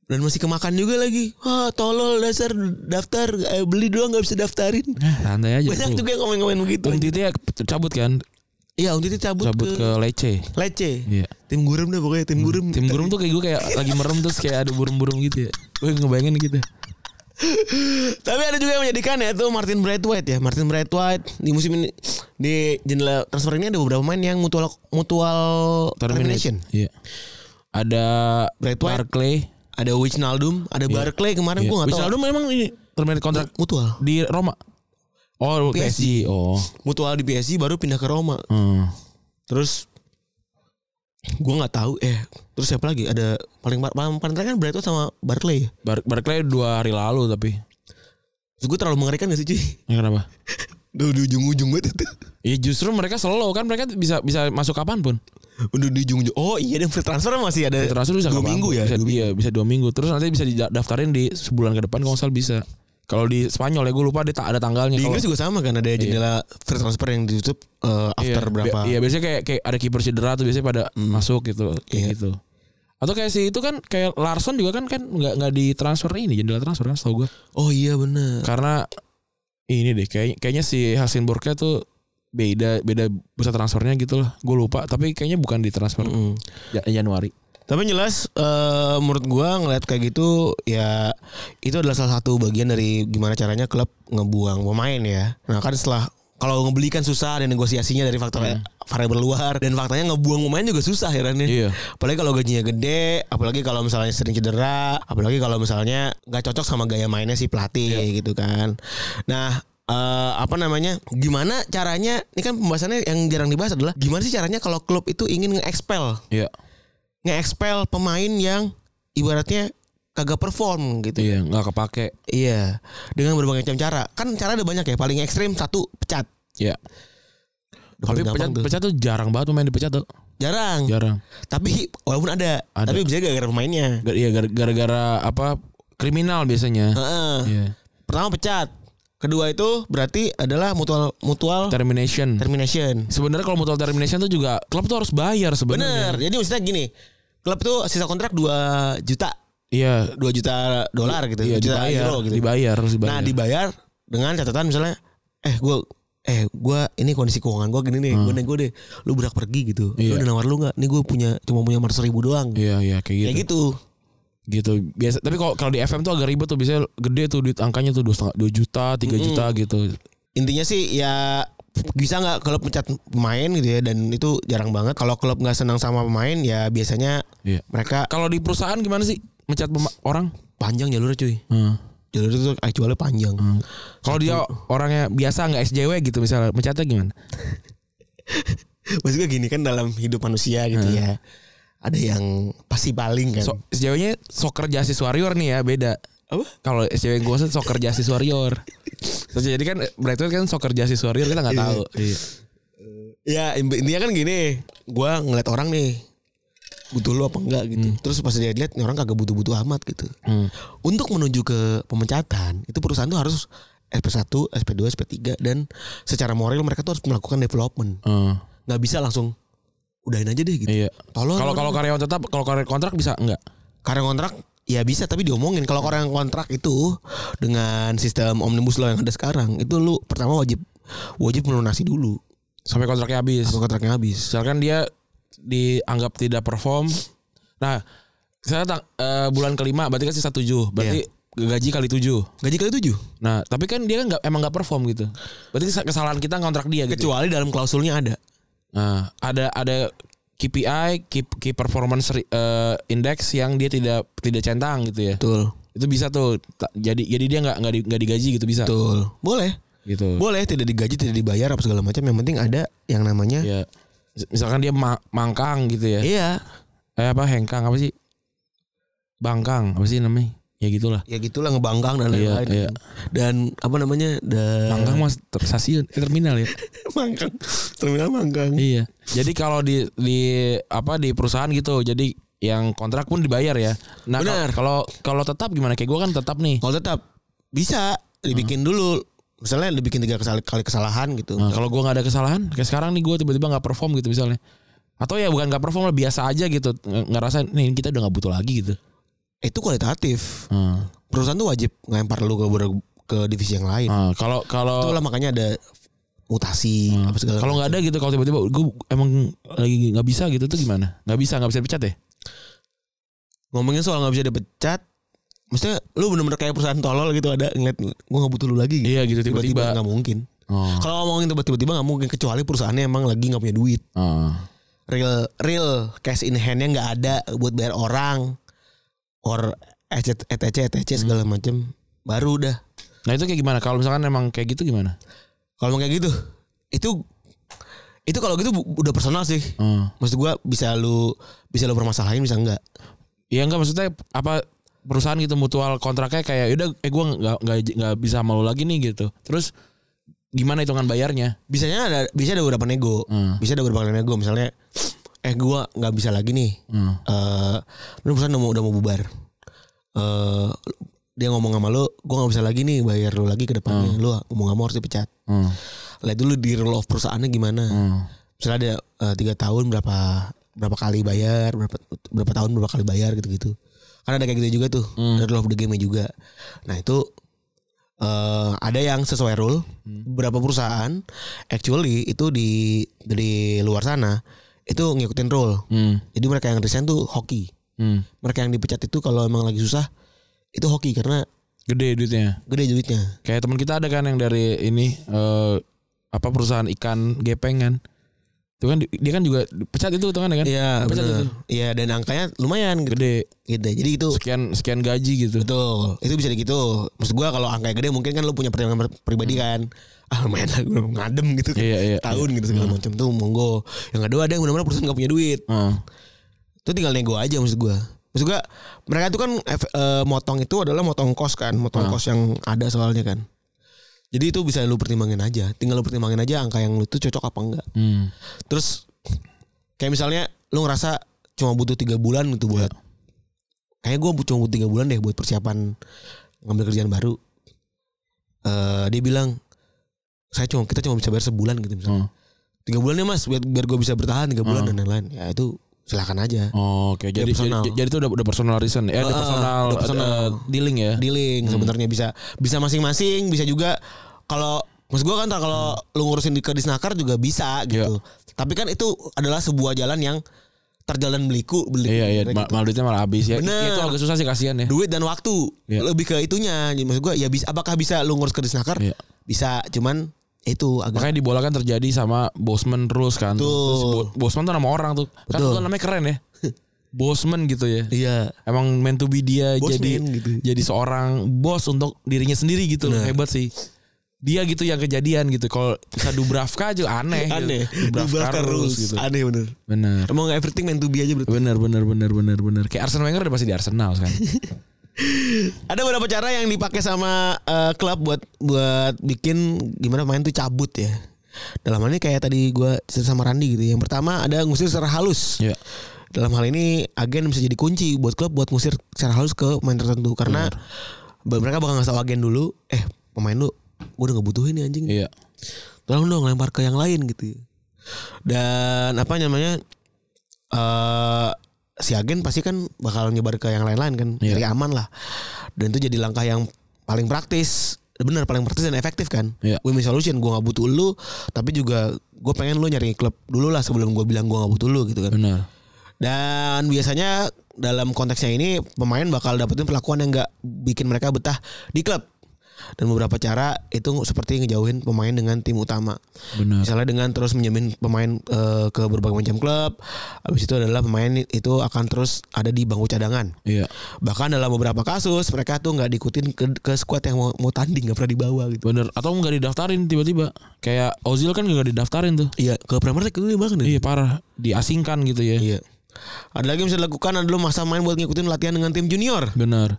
B: Dan masih kemakan juga lagi Wah tolol dasar daftar eh, Beli doang nggak bisa daftarin
C: Eh, Santai aja.
B: Banyak
C: lu.
B: juga yang komen-komen begitu
C: Om Titi ya cabut kan?
B: Iya untuk itu cabut, ke,
C: Cabut ke Lece.
B: Lece
C: Iya.
B: Tim gurem dah pokoknya tim gurem
C: Tim burung tuh kayak gue kayak lagi merem terus kayak ada burung-burung gitu ya. Gue ngebayangin gitu.
B: Tapi ada juga yang menjadikan ya Itu Martin Braithwaite ya Martin Braithwaite Di musim ini Di jendela transfer ini ada beberapa pemain yang mutual Mutual termination
C: Iya. Ada
B: Braithwaite.
C: Barclay.
B: Ada Wijnaldum Ada Barclay kemarin Kan
C: Iya.
B: gua nggak tahu
C: Wijnaldum memang ini terminate kontrak
B: mutual
C: di Roma. Oh, PSG. Oh.
B: mutual di PSG baru pindah ke Roma
C: Hmm.
B: terus gua nggak tahu eh terus siapa lagi ada paling paling, paling terakhir kan Brighton sama Barclay ya?
C: Bar Barclay dua hari lalu tapi.
B: terus gue terlalu mengerikan gak sih cuy
C: Ya, kenapa?
B: udah di ujung ujung banget itu
C: Ya justru mereka slow kan mereka bisa bisa masuk kapanpun.
B: udah di ujung ujung oh iya dan free transfer masih ada
C: Transfer bisa
B: dua
C: kapanpun.
B: minggu ya
C: Bisa,
B: dua minggu.
C: Iya bisa dua minggu. Terus nanti bisa didaftarin di sebulan ke depan kalau nggak salah bisa. Kalau di Spanyol ya gue lupa dia tak ada tanggalnya.
B: di
C: Kalau-
B: Inggris juga sama kan ada jendela free transfer yang ditutup eh, after
C: Iya,
B: berapa Hmm.
C: bi- Iya biasanya kayak kayak ada kiper cedera tuh biasanya pada masuk gitu kayak
B: Iya.
C: gitu. Atau kayak si itu kan kayak Larson juga kan kan nggak nggak ditransfer ini jendela transfer kan setahu gue.
B: oh iya benar
C: Karena ini deh kayak kayaknya si Hasenburgnya tuh beda beda bursa transfernya gitu lah. Gue lupa tapi kayaknya bukan ditransfer
B: Mm.
C: Ja- Januari.
B: Tapi yang jelas eh, menurut gua ngeliat kayak gitu ya itu adalah salah satu bagian dari gimana caranya klub ngebuang pemain ya. Nah kan setelah kalau ngebelikan susah ada kan negosiasinya dari faktor variabel luar dan faktanya ngebuang pemain juga susah herannya.
C: Iya.
B: Apalagi kalau gajinya gede, apalagi kalau misalnya sering cedera, apalagi kalau misalnya nggak cocok sama gaya mainnya si pelatih gitu kan. Nah, eh, apa namanya? Gimana caranya? Ini kan pembahasannya yang jarang dibahas adalah gimana sih caranya kalau klub itu ingin nge-expel,
C: Iya.
B: nge-expel pemain yang ibaratnya kagak perform gitu.
C: Iya, nggak kepake.
B: Iya, dengan berbagai macam cara. Kan cara ada banyak ya. Paling ekstrim satu pecat.
C: Iya. Tapi
B: Paling
C: pecat,
B: gampang tuh. Hmm.
C: pecat tuh jarang banget pemain dipecat tuh.
B: jarang.
C: Jarang.
B: Tapi walaupun ada,
C: Ada.
B: tapi bisa gara-gara pemainnya.
C: Gar- Iya gara- gara-gara apa kriminal biasanya.
B: Heeh.
C: Iya.
B: Pertama pecat. Kedua itu berarti adalah mutual mutual
C: Termination.
B: termination.
C: Sebenarnya kalau mutual termination tuh juga klub tuh harus bayar
B: Bener.
C: sebenarnya.
B: Jadi maksudnya gini, klub tuh sisa kontrak 2 juta,
C: Iya.
B: 2 juta dolar gitu,
C: Iya
B: 2 juta
C: dibayar,
B: euro gitu.
C: dibayar harus dibayar.
B: Nah, dibayar dengan catatan misalnya eh gue eh gue ini kondisi keuangan gue gini nih gue nih gue deh lu berak pergi gitu
C: Hmm. Iya.
B: lu udah nawar lu nggak nih gue punya cuma punya empat ribu doang
C: Iya iya
B: Kayak
C: kayak
B: gitu.
C: gitu. Gitu. Biasa tapi kalau kalau di FM tuh agak ribet tuh biasanya gede tuh duit angkanya tuh 2 juta, 3 juta gitu.
B: Intinya sih ya bisa nggak klub mencat pemain gitu ya dan itu jarang banget. Kalau klub nggak senang sama pemain ya biasanya
C: Iya.
B: mereka
C: Kalau di perusahaan gimana sih mencat pema- orang?
B: panjang jalurnya cuy.
C: Heeh.
B: Jalur itu actualnya panjang.
C: Hmm. Kalau dia orangnya biasa nggak SJW gitu misalnya mencatnya gimana?
B: Maksudnya gini kan dalam hidup manusia gitu ya. Ada yang pasti paling kan.
C: Hmm. So, SJW-nya soccer justice warrior nih ya beda.
B: Apa?
C: Kalau SJW gue sih soccer justice warrior. So, jadi kan Brightwood kan soccer justice warrior kita
B: Iya.
C: nggak tahu.
B: Ya in- intinya kan gini, gua ngeliat orang nih butuh lu apa enggak gitu. Terus pas dia lihat nih orang kagak butuh-butuh amat gitu.
C: Hmm.
B: Untuk menuju ke pemecatan, itu perusahaan tuh harus SP1, SP2, SP3 dan secara moral mereka tuh harus melakukan development.
C: Eh,
B: Nggak bisa langsung udahin aja deh gitu.
C: iya.
B: Tolong
C: Kalau kalau karyawan tetap kalau karyawan kontrak bisa nggak?
B: karya kontrak ya bisa tapi diomongin kalau karya kontrak itu dengan sistem omnibus law yang ada sekarang itu lu pertama wajib wajib melunasi dulu
C: Sampai kontraknya habis.
B: sampai kontraknya habis.
C: Misalkan dia dianggap tidak perform. Nah, saya tang- eh, bulan kelima berarti kan sisa tujuh. Berarti
B: Iya.
C: gaji kali tujuh.
B: Gaji kali tujuh.
C: Nah, tapi kan dia nggak emang nggak perform gitu. Berarti kes- kesalahan kita ngontrak dia gitu.
B: Kecuali dalam klausulnya ada.
C: Nah, ada ada KPI, key, key performance Re- eh, index yang dia tidak tidak centang gitu ya.
B: Betul.
C: Itu bisa tuh. Ta- Jadi jadi dia nggak nggak di- nggak digaji gitu bisa.
B: Betul. Boleh.
C: Gitu.
B: Boleh tidak digaji, tidak dibayar apa segala macam. Yang penting ada yang namanya
C: Ya. Mis- Misalkan dia ma- mangkang gitu ya.
B: Iya.
C: Eh apa hengkang apa sih? Bangkang apa sih namanya? Ya gitulah.
B: Ya gitulah ngebangkang dan
C: Iya,
B: lain-lain.
C: iya.
B: Dan apa namanya? Dan
C: Mangkang mas ter- stasiun eh, terminal ya.
B: mangkang. Terminal mangkang.
C: iya. Jadi kalau di di apa di perusahaan gitu. Jadi yang kontrak pun dibayar ya. Nah, kal-
B: Benar.
C: kalau kalau tetap gimana? Kayak gue kan tetap nih.
B: Kalau tetap bisa dibikin
C: Hmm.
B: dulu. Misalnya dibikin tiga kesal- kali kesalahan gitu.
C: Nah, kalau gue nggak ada kesalahan, kayak sekarang nih gue tiba-tiba nggak perform gitu misalnya. Atau ya bukan nggak perform lah biasa aja gitu, Nge- ngerasa nih kita udah nggak butuh lagi gitu.
B: Itu kualitatif.
C: Nah,
B: Perusahaan tuh wajib ngelempar lu ke ke divisi yang lain.
C: nah, kalau kalau Hmm.
B: Itulah makanya ada mutasi apa segala
C: kalau nggak ada gitu, kalau tiba-tiba gue emang lagi nggak bisa gitu tuh gimana? Nggak bisa, nggak bisa dipecat ya?
B: ngomongin soal nggak bisa dipecat maksudnya lu bener-bener kayak perusahaan tolol gitu ada ngeliat gua nggak butuh lu lagi gitu.
C: Iya gitu
B: tiba-tiba
C: tiba-tiba.
B: nggak mungkin
C: Oh.
B: kalau ngomongin tiba-tiba nggak mungkin kecuali perusahaannya emang lagi nggak punya duit
C: oh.
B: real real cash in handnya nggak ada buat bayar orang or etc etc etc segala macem baru udah
C: Nah itu kayak gimana? Kalau misalkan emang kayak gitu gimana?
B: kalau emang kayak gitu itu itu kalau gitu bu- udah personal sih
C: Oh.
B: maksud gua bisa lu bisa lu permasalahin bisa enggak
C: Ya enggak maksudnya apa perusahaan gitu mutual kontraknya kayak udah eh gue nggak nggak nggak bisa malu lagi nih gitu. Terus gimana hitungan bayarnya?
B: bisanya ada bisa ada beberapa nego
C: Hmm.
B: bisa ada beberapa nego misalnya eh gua nggak bisa lagi nih
C: Hmm.
B: eh lu perusahaan udah mau udah mau bubar eh dia ngomong sama lu gua nggak bisa lagi nih bayar lu lagi ke depannya lu mau nggak mau harus dipecat
C: Hmm.
B: lihat dulu di rule of perusahaannya gimana
C: Hmm.
B: misalnya ada eh, tiga tahun berapa berapa kali bayar berapa berapa tahun berapa kali bayar gitu gitu karena ada kayak gitu juga tuh ada rule of the game juga nah itu eh ada yang sesuai rule beberapa perusahaan actually itu di dari luar sana itu ngikutin rule
C: Hmm.
B: jadi mereka yang resign tuh hoki
C: Hmm.
B: mereka yang dipecat itu kalau emang lagi susah itu hoki karena
C: Gede duitnya.
B: gede duitnya
C: Kayak teman kita ada kan yang dari ini eh apa perusahaan ikan gepeng kan. Itu kan di- dia kan juga dipecat itu hitungan kan?
B: Iya,
C: Dipecat
B: benar.
C: itu.
B: Iya, dan angkanya lumayan gitu.
C: Gede.
B: Gitu. Jadi itu
C: Sekian sekian gaji gitu.
B: betul. Itu bisa gitu. Maksud gua kalau angkanya gede mungkin kan lu punya pertimbangan per- pribadi kan. Ah lumayan lah gua ngadem gitu.
C: Iya, iya,
B: Tahun gitu segala macam tuh monggo. Yang kedua ada yang benar-benar perusahaan gak punya duit.
C: Heeh.
B: Itu tinggal nego aja maksud gua. Maksud gua mereka itu kan ef- eh, motong itu adalah motong kos kan,
C: Ah.
B: motong kos yang ada soalnya kan. Jadi itu bisa lu pertimbangin aja. Tinggal lu pertimbangin aja angka yang lu tuh cocok apa enggak.
C: Hmm.
B: Terus kayak misalnya lu ngerasa cuma butuh tiga bulan gitu buat
C: Iya.
B: kayaknya gue cuma butuh tiga bulan deh buat persiapan ngambil kerjaan baru. Eh dia bilang saya cuma kita cuma bisa bayar sebulan gitu misalnya.
C: Hmm.
B: Tiga bulan ya mas biar, biar gue bisa bertahan tiga bulan dan lain-lain. Ya itu silakan aja.
C: Oh, Oke,
B: Dia
C: jadi, jadi
B: personal.
C: jadi itu udah udah personal reason. Ya, ada
B: Ah,
C: personal,
B: udah personal.
C: eh, dealing ya.
B: Dealing sebenarnya bisa bisa masing-masing bisa juga kalau Maksud gue kan ntar kalau
C: Hmm.
B: lu ngurusin di ke disnaker juga bisa gitu.
C: Iya.
B: Tapi kan itu adalah sebuah jalan yang terjalan beliku beliku.
C: Iya iya,
B: Gitu.
C: ma malah duitnya malah habis ya.
B: Bener.
C: Itu agak susah sih kasihan ya.
B: duit dan waktu
C: Iya.
B: lebih ke itunya Jadi maksud gua ya bisa apakah bisa lu ngurus ke disnaker
C: Iya.
B: bisa cuman itu agak
C: Makanya di bola kan terjadi sama Bosman rules kan. tuh.
B: Betul.
C: Terus Bo- Bosman tuh nama orang tuh. Kan
B: Betul.
C: itu namanya keren ya. Bosman gitu ya.
B: iya
C: Emang meant to be dia
B: Bosman
C: jadi
B: gitu.
C: jadi seorang bos untuk dirinya sendiri gitu. loh. Hebat sih. Dia gitu yang kejadian gitu. Kalau bisa Dubravka aja aneh.
B: aneh
C: Gitu.
B: Dubravka rules
C: gitu.
B: aneh bener
C: Benar.
B: emang everything meant to be aja berarti
C: Benar benar benar benar benar. Kayak Arsene Wenger udah pasti di Arsenal kan.
B: ada beberapa cara yang dipakai sama eh, klub buat buat bikin gimana main tuh cabut ya dalam hal ini kayak tadi gua cerita sama Randi gitu yang pertama ada ngusir secara halus
C: Iya.
B: dalam hal ini agen bisa jadi kunci buat klub buat ngusir secara halus ke pemain tertentu karena mereka bakal ngasih tau agen dulu eh pemain lu gue udah gak butuhin nih anjing
C: Iya.
B: tolong dong lempar ke yang lain gitu dan apa namanya eh si agen pasti kan bakal nyebar ke yang lain-lain kan
C: Iya.
B: jadi aman lah dan itu jadi langkah yang paling praktis benar paling praktis dan efektif kan
C: Iya.
B: win-win solution gue nggak butuh lu tapi juga gue pengen lu nyari klub dulu lah sebelum gue bilang gue nggak butuh lu gitu kan
C: Benar.
B: dan biasanya dalam konteksnya ini pemain bakal dapetin perlakuan yang nggak bikin mereka betah di klub. Dan beberapa cara itu seperti ngejauhin pemain dengan tim utama.
C: Benar.
B: Misalnya dengan terus menjamin pemain eh, ke berbagai macam klub. Habis itu adalah pemain itu akan terus ada di bangku cadangan.
C: Iya.
B: Bahkan dalam beberapa kasus mereka tuh nggak diikutin ke, ke squad yang mau, mau tanding nggak pernah dibawa gitu.
C: Bener atau nggak didaftarin tiba-tiba kayak Ozil kan nggak didaftarin tuh
B: Iya ke Premier League itu bahkan ya?
C: iya parah diasingkan gitu ya
B: Iya. Ada lagi yang bisa dilakukan adalah masa main buat ngikutin latihan dengan tim junior.
C: bener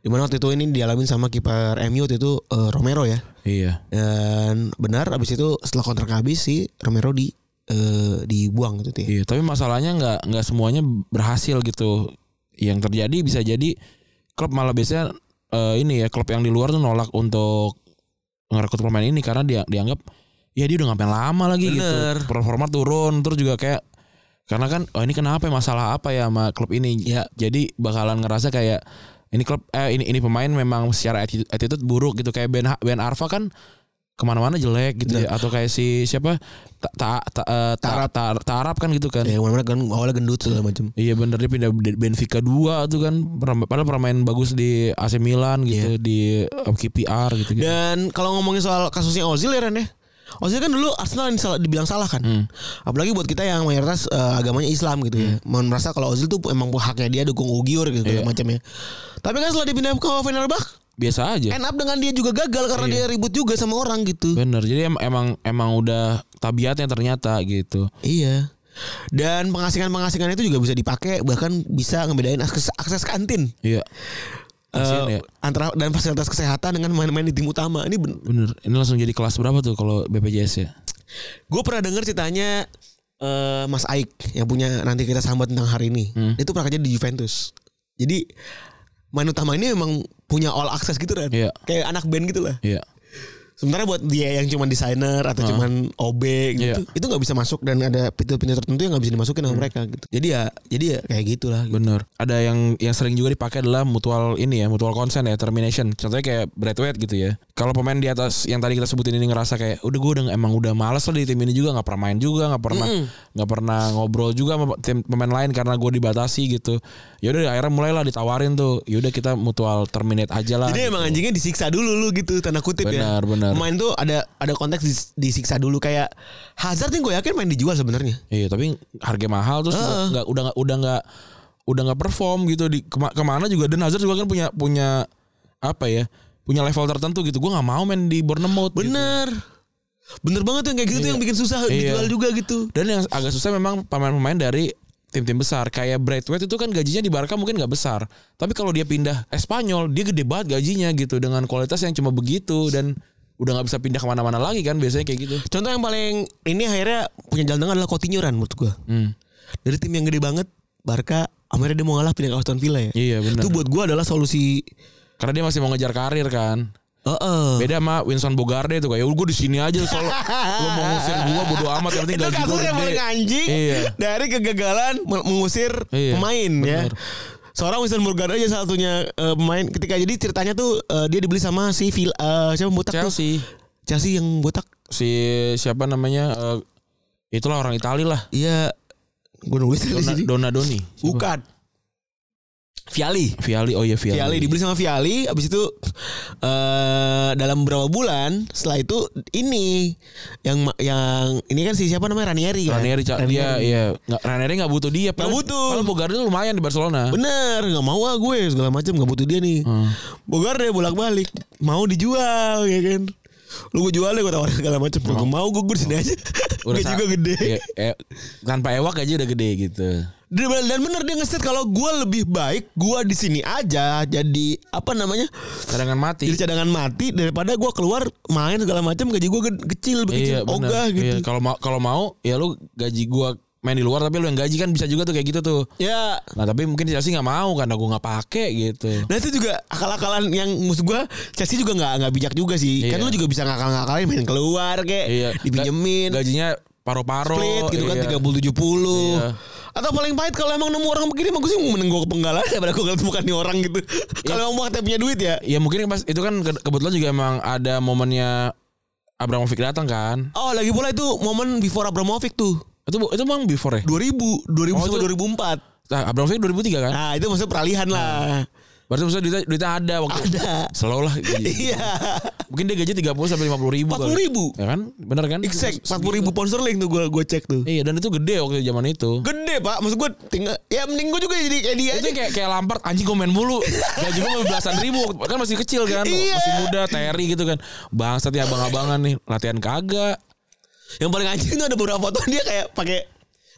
B: Dimana waktu itu ini dialamin sama kiper MU waktu itu eh, Romero ya.
C: iya
B: Dan benar abis itu setelah kontrak habis si Romero di eh, dibuang gitu ya.
C: iya tapi masalahnya nggak nggak semuanya berhasil gitu yang terjadi bisa jadi klub malah biasanya eh, ini ya klub yang di luar tuh nolak untuk ngerekrut pemain ini karena dia dianggap ya dia udah ngapain lama lagi
B: Bener.
C: gitu performa turun terus juga kayak karena kan oh ini kenapa ya masalah apa ya sama klub ini
B: Ya.
C: jadi bakalan ngerasa kayak ini klub eh ini ini pemain memang secara attitude, attitude buruk gitu kayak Ben Ha- Ben Arfa kan kemana-mana jelek gitu ya atau kayak si siapa tak tak ta, eh, Ta- Ta- Tarap kan gitu kan
B: Ya mana kan awalnya gendut segala macam.
C: Iya bener dia pindah dari Benfica 2 tuh kan Pernah- padahal permain bagus di AC Milan gitu di eh, KPR gitu gitu.
B: Dan kalau ngomongin soal kasusnya Ozil ya Ren ya. Ozil kan dulu Arsenal yang salah, dibilang salah kan. Apalagi buat kita yang mayoritas eh, agamanya Islam gitu ya. Mau merasa kalau Ozil tuh emang haknya dia dukung Ugyur gitu segala macam ya. Tapi kan setelah dipindah ke Fenerbahce
C: Biasa aja.
B: end up dengan dia juga gagal karena dia ribut juga sama orang gitu.
C: Bener jadi em- emang emang udah tabiatnya ternyata gitu.
B: Iya. Dan pengasingan-pengasingan itu juga bisa dipakai bahkan bisa ngebedain akses akses kantin.
C: Iya. Kasian
B: Eh,
C: ya.
B: antara dan fasilitas kesehatan dengan main-main di tim utama. Ini ben-
C: Bener. Ini langsung jadi kelas berapa tuh kalau BPJS ya?
B: gue pernah dengar ceritanya eh, Mas Aik yang punya nanti kita sambat tentang hari ini.
C: Hmm.
B: Dia tuh pernah kerja di Juventus. Jadi main utama ini memang punya all access gitu kan.
C: Iya.
B: Kayak anak band gitu lah.
C: Iya.
B: Sementara buat dia yang cuman desainer atau cuman OB gitu,
C: Iya.
B: itu nggak bisa masuk dan ada pintu-pintu tertentu yang nggak bisa dimasukin sama mereka gitu. Jadi ya, jadi ya kayak gitulah. Gitu.
C: Hmm. Bener. Ada yang yang sering juga dipakai adalah mutual ini ya, mutual consent ya, termination. Contohnya kayak Bradway gitu ya. Kalau pemain di atas yang tadi kita sebutin ini ngerasa kayak, udah gue udah emang udah males lah di tim ini juga nggak pernah main juga, nggak pernah nggak pernah ngobrol juga sama tim pemain lain karena gue dibatasi gitu. Yaudah akhirnya mulailah ditawarin tuh. Yaudah kita mutual terminate aja lah.
B: Jadi emang anjingnya disiksa dulu lu gitu tanda kutip ya.
C: Benar, benar. Benar.
B: pemain tuh ada ada konteks dis- disiksa dulu kayak Hazard yang gue yakin main dijual sebenarnya.
C: Iya tapi harga mahal terus nggak nggak- udah nggak udah nggak udah nggak perform gitu di kema- kemana juga dan Hazard juga kan punya punya apa ya punya level tertentu gitu gue nggak mau main di Bournemouth gitu.
B: Bener. Bener banget tuh yang kayak gitu tuh yang bikin susah
C: Iya.
B: dijual juga gitu.
C: dan yang agak susah memang pemain-pemain dari tim-tim besar kayak Braithwaite itu kan gajinya di Barca mungkin nggak besar tapi kalau dia pindah Espanyol dia gede banget gajinya gitu dengan kualitas yang cuma begitu dan udah nggak bisa pindah kemana-mana lagi kan biasanya kayak gitu
B: Contoh yang paling ini akhirnya punya jalan tengah adalah Coutinho Ran menurut gue.
C: Hmm.
B: Dari tim yang gede banget Barca akhirnya dia mau ngalah pindah ke Aston Villa ya.
C: iya benar
B: Itu buat gue adalah solusi
C: karena dia masih mau ngejar karir kan
B: eh eh.
C: Beda sama Winston Bogarde tuh kayak gue di sini aja soalnya lo mau ngusir gue bodo amat yang
B: Ah.
C: penting
B: itu
C: gaji gue
B: kasus yang
C: gede.
B: paling anjing
C: Iya.
B: dari kegagalan me- mengusir
C: Iya,
B: pemain ya. Seorang Winston Bogarde aja salah satunya eh, pemain ketika jadi ceritanya tuh eh, dia dibeli sama si Vil, eh, siapa botak tuh?
C: Chelsea
B: Chelsea yang botak.
C: si siapa namanya eh, itulah orang Itali lah
B: Iya gue nulis di
C: Dona,
B: sini.
C: Dona Doni Siapa?
B: Bukan. Viali.
C: Viali oh iya Viali,
B: Viali dibeli sama Viali abis itu eh dalam beberapa bulan setelah itu ini yang ma- yang ini kan si siapa namanya Ranieri kan?
C: Ranieri, Ca- dia iya nggak Ranieri nggak butuh dia padahal-
B: butuh.
C: padahal Bogarde tuh lumayan di Barcelona
B: Bener nggak mau ah gue segala macam nggak butuh dia nih.
C: Hmm.
B: Bogar deh bolak balik mau dijual ya kan? Lu gue jual deh gue tawarin segala macam. Gue mau gue gue di sini aja. Gue
C: Oh. sa-
B: juga gede.
C: Iya, eh, tanpa ewak aja udah gede gitu
B: Dia bilang, Dan bener dia ngeset kalau gue lebih baik gue di sini aja jadi apa namanya?
C: cadangan mati
B: Jadi cadangan mati daripada gue keluar main segala macam gaji gue kecil
C: Iya
B: begitu
C: benar.
B: ogah
C: Iya,
B: gitu.
C: kalau mau kalau mau ya lu gaji gua main di luar tapi lu yang gaji kan bisa juga tuh kayak gitu tuh.
B: Ya
C: Nah tapi mungkin Chelsea nggak mau karena gue nggak pakai gitu.
B: Nah itu juga akal-akalan yang musuh gue Chelsea juga nggak nggak bijak juga sih Kan
C: Iya.
B: lu juga bisa ngakal-ngakalin main keluar kayak
C: Iya.
B: Dipinjemin
C: Gajinya paru-paru.
B: split gitu kan
C: iya.
B: 30 70.
C: Iya.
B: Atau paling pahit kalau emang nemu orang begini mah gue sih mending gue ke penggalan daripada gue ngeliat bukan nih orang gitu.
C: Iya.
B: kalau emang mau katanya punya duit ya.
C: Ya mungkin pas itu kan ke- kebetulan juga emang ada momennya Abramovich datang kan.
B: Oh lagi pula itu momen before Abramovich tuh.
C: Itu bu- itu emang before ya.
B: 2000, 2000
C: Oh,
B: sama
C: itu-
B: 2004.
C: Nah, Abramovich 2003 kan.
B: Nah, itu maksudnya peralihan
C: Nah.
B: lah.
C: Berarti maksudnya duitnya, duitnya ada waktu. itu.
B: Ada.
C: Slow lah. gaji.
B: Iya.
C: mungkin dia gaji 30 sampai 50 ribu. kali.
B: 40.000.
C: Ya kan? Bener kan?
B: Exact 40
C: Segitu.
B: ribu pound sterling tuh gue gue cek tuh.
C: Iya dan itu gede waktu zaman itu.
B: Gede pak, maksud gue tinggal ya mending gue juga jadi kayak dia
C: itu
B: aja.
C: kayak kayak Lampard anjing gue main mulu gaji gue mau belasan ribu kan masih kecil kan
B: Iya.
C: masih muda Terry gitu kan bangsat ya abang-abangan nih latihan kagak
B: Yang paling anjing tuh ada beberapa foto dia kayak pakai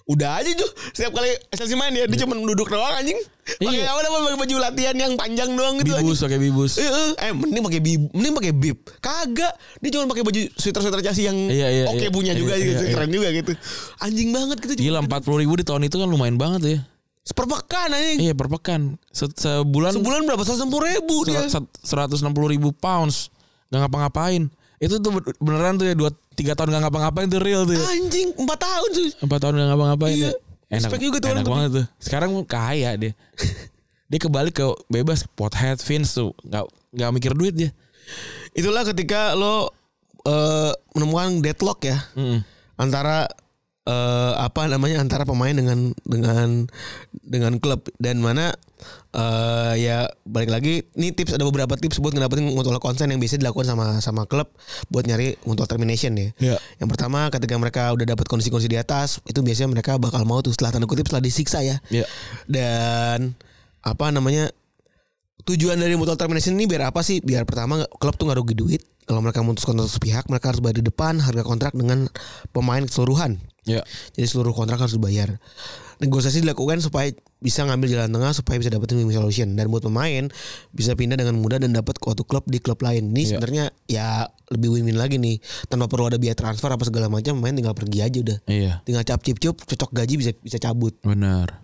B: udah aja tuh setiap kali Chelsea main dia, dia cuma duduk doang anjing. Pakai
C: Iya.
B: apa namanya pakai baju latihan yang panjang doang gitu anjing.
C: bibus pakai bibus
B: Eh, eh, eh, mending pakai bib, mending pakai bib. Kagak, dia cuma pakai baju sweater-sweater Chelsea yang
C: Iya, iya,
B: oke
C: iya.
B: punya juga
C: Iya,
B: gitu,
C: iya,
B: keren juga gitu. Anjing banget gitu. cuma
C: gila empat puluh ribu di tahun itu kan lumayan banget ya
B: Seperpekan anjing.
C: iya per pekan Se- sebulan
B: Sebulan berapa? 160 ribu dia.
C: seratus enam puluh ribu pounds nggak ngapa-ngapain itu tuh ben- beneran tuh ya dua tiga tahun nggak ngapa-ngapain tuh real tuh ya.
B: Anjing 4 tahun tuh.
C: empat tahun nggak ngapa-ngapain
B: Iya.
C: ya. enak
B: Respect juga tuh
C: enak
B: orang
C: banget tuh sekarang kaya dia dia kebalik ke bebas pothead fins tuh nggak nggak mikir duit dia
B: Itulah ketika lo eh, menemukan deadlock ya
C: Mm-mm.
B: antara eh, apa namanya antara pemain dengan dengan dengan klub dan mana eh, ya balik lagi ini tips ada beberapa tips buat ngedapetin mutual consent yang biasa dilakukan sama sama klub buat nyari mutual termination ya.
C: Iya.
B: Yang pertama ketika mereka udah dapat kondisi-kondisi di atas itu biasanya mereka bakal mau tuh setelah tanda kutip setelah disiksa ya.
C: Iya.
B: Dan apa namanya tujuan dari mutual termination ini biar apa sih? Biar pertama nggak- klub tuh nggak rugi duit. Kalau mereka memutus kontrak sepihak, mereka harus bayar di depan harga kontrak dengan pemain keseluruhan.
C: Ya.
B: Jadi seluruh kontrak harus dibayar. Negosiasi dilakukan supaya bisa ngambil jalan tengah supaya bisa dapetin win-win solution dan buat pemain bisa pindah dengan mudah dan dapat suatu klub di klub lain. Ini
C: Iya.
B: sebenarnya ya lebih win-win lagi nih tanpa perlu ada biaya transfer apa segala macam pemain tinggal pergi aja udah.
C: Iya.
B: Tinggal cap cip cup cocok gaji bisa bisa cabut
C: Benar.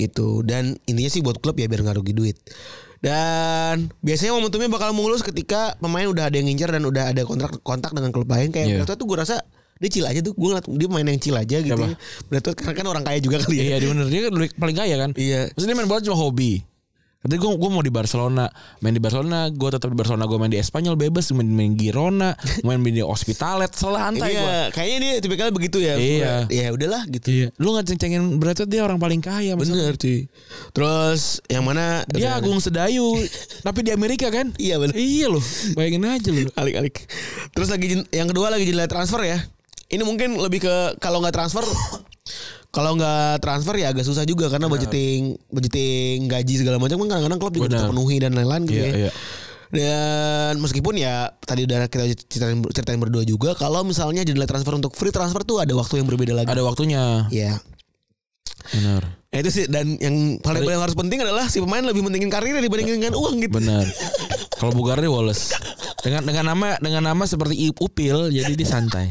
B: gitu dan intinya sih buat klub ya biar nggak rugi duit dan biasanya momentumnya bakal mulus ketika pemain udah ada yang ngincer dan udah ada kontrak kontak dengan klub lain kayak
C: Iya.
B: Braithwaite tuh gue rasa dia chill aja tuh gue ngeliat dia main yang chill aja gitu
C: Siapa?
B: ya. Braithwaite karena kan orang kaya juga kali ya
C: Iya, dia benar. Dia kan paling kaya kan?
B: Iya.
C: Maksudnya dia main bola cuma hobi. Tapi gue gue mau di Barcelona, main di Barcelona, gue tetap di Barcelona, gue main di Espanyol bebas, main, main Girona, main di Hospitalet, selantai gue.
B: Iya, kayaknya dia tipikalnya begitu ya.
C: Iya.
B: Ya udahlah gitu.
C: Iya. Lu nggak cengcengin berarti dia orang paling kaya. Mas.
B: Bener cuy. Terus yang mana?
C: Dia Agung Sedayu, tapi di Amerika kan?
B: Iya bener.
C: Iya loh, bayangin aja loh.
B: Alik-alik. Terus lagi jen- yang kedua lagi jendela transfer ya. Ini mungkin lebih ke kalau nggak transfer kalau nggak transfer ya agak susah juga
C: Iya.
B: karena budgeting budgeting gaji segala macam kan kadang-kadang klub juga
C: Benar.
B: harus terpenuhi dan lain-lain gitu
C: Iya,
B: ya.
C: iya.
B: Dan meskipun ya tadi udah kita ceritain, ceritain berdua juga kalau misalnya jendela transfer untuk free transfer tuh ada waktu yang berbeda lagi.
C: Ada waktunya.
B: Ya.
C: Benar.
B: Ya, itu sih dan yang paling yang harus penting adalah si pemain lebih mentingin karirnya dibandingin dengan uang gitu.
C: Benar. Kalau Bulgari Wallace. Dengan dengan nama dengan nama seperti I- Upil jadi dia santai.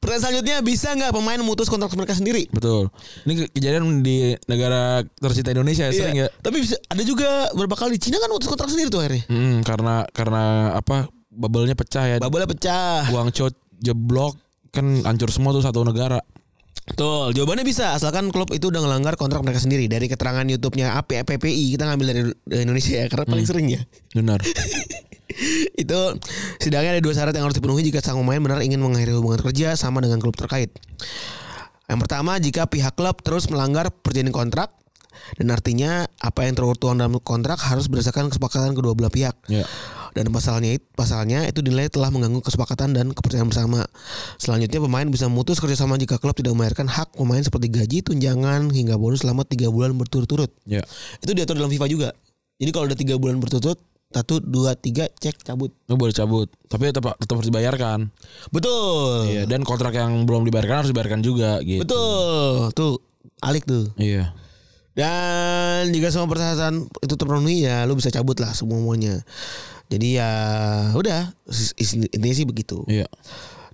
B: Pertanyaan selanjutnya bisa nggak pemain memutus kontrak mereka sendiri?
C: Betul. Ini ke- kejadian di negara tercinta Indonesia ya, sering
B: Iya.
C: ya.
B: Tapi bisa, ada juga beberapa kali Cina kan mutus kontrak sendiri tuh akhirnya.
C: Mm, karena karena apa? Bubble-nya pecah ya.
B: Babelnya pecah.
C: Guangzhou jeblok kan hancur semua tuh satu negara.
B: Betul. Jawabannya bisa asalkan klub itu udah ngelanggar kontrak mereka sendiri dari keterangan YouTube-nya AP PPI kita ngambil dari dari Indonesia ya karena
C: Hmm.
B: paling sering ya.
C: Benar.
B: itu setidaknya ada dua syarat yang harus dipenuhi jika sang pemain benar ingin mengakhiri hubungan kerja sama dengan klub terkait. Yang pertama, jika pihak klub terus melanggar perjanjian kontrak dan artinya apa yang tertuang dalam kontrak harus berdasarkan kesepakatan kedua belah pihak.
C: Ya.
B: Dan pasalnya it- pasalnya itu dinilai telah mengganggu kesepakatan dan kepercayaan bersama. Selanjutnya pemain bisa memutus kerjasama jika klub tidak membayarkan hak pemain seperti gaji, tunjangan hingga bonus selama tiga bulan berturut-turut.
C: Ya.
B: Itu diatur dalam FIFA juga. Jadi kalau udah tiga bulan berturut-turut, satu, dua, tiga, cek cabut.
C: Lu boleh cabut, tapi tetap tetap harus dibayarkan.
B: Betul.
C: Iya, dan kontrak yang belum dibayarkan harus dibayarkan juga gitu.
B: Betul. Tuh, Alik tuh.
C: Iya.
B: Dan jika semua persyaratan itu terpenuhi ya lu bisa cabut lah semuanya. Jadi ya udah is- is- intinya sih begitu.
C: Iya.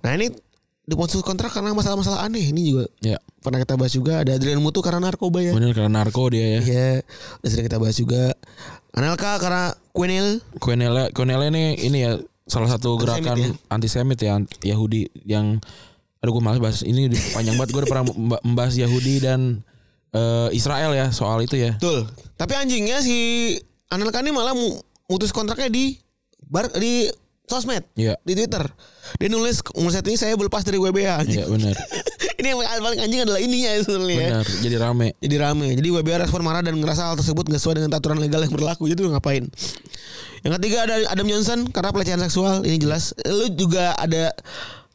B: Nah ini diputus kontrak karena masalah-masalah aneh ini juga
C: Iya.
B: pernah kita bahas juga ada Adrian Mutu karena narkoba ya.
C: Benar karena narko dia ya.
B: Iya, udah sering kita bahas juga. Anelka karena Quenil
C: Quenelle Quenelle ini ini ya salah satu gerakan antisemit ya an- Yahudi yang aduh gue malas bahas ini di- panjang banget gue udah pernah memba- membahas Yahudi dan eh, Israel ya soal itu ya
B: Betul. Tapi anjingnya si Anelka ini malah mu- mutus kontraknya di bar di sosmed.
C: Iya.
B: Di Twitter. Dia nulis "Umur saat ini saya berlepas dari WBA. anjing.
C: iya benar
B: ini yang paling anjing adalah ininya sebenarnya. ya.
C: benar jadi rame
B: Jadi rame. Jadi WBA respon marah dan ngerasa hal tersebut nggak sesuai dengan aturan legal yang berlaku. Jadi lu ngapain? Yang ketiga ada Adam Johnson karena pelecehan seksual. Ini jelas. Lu juga ada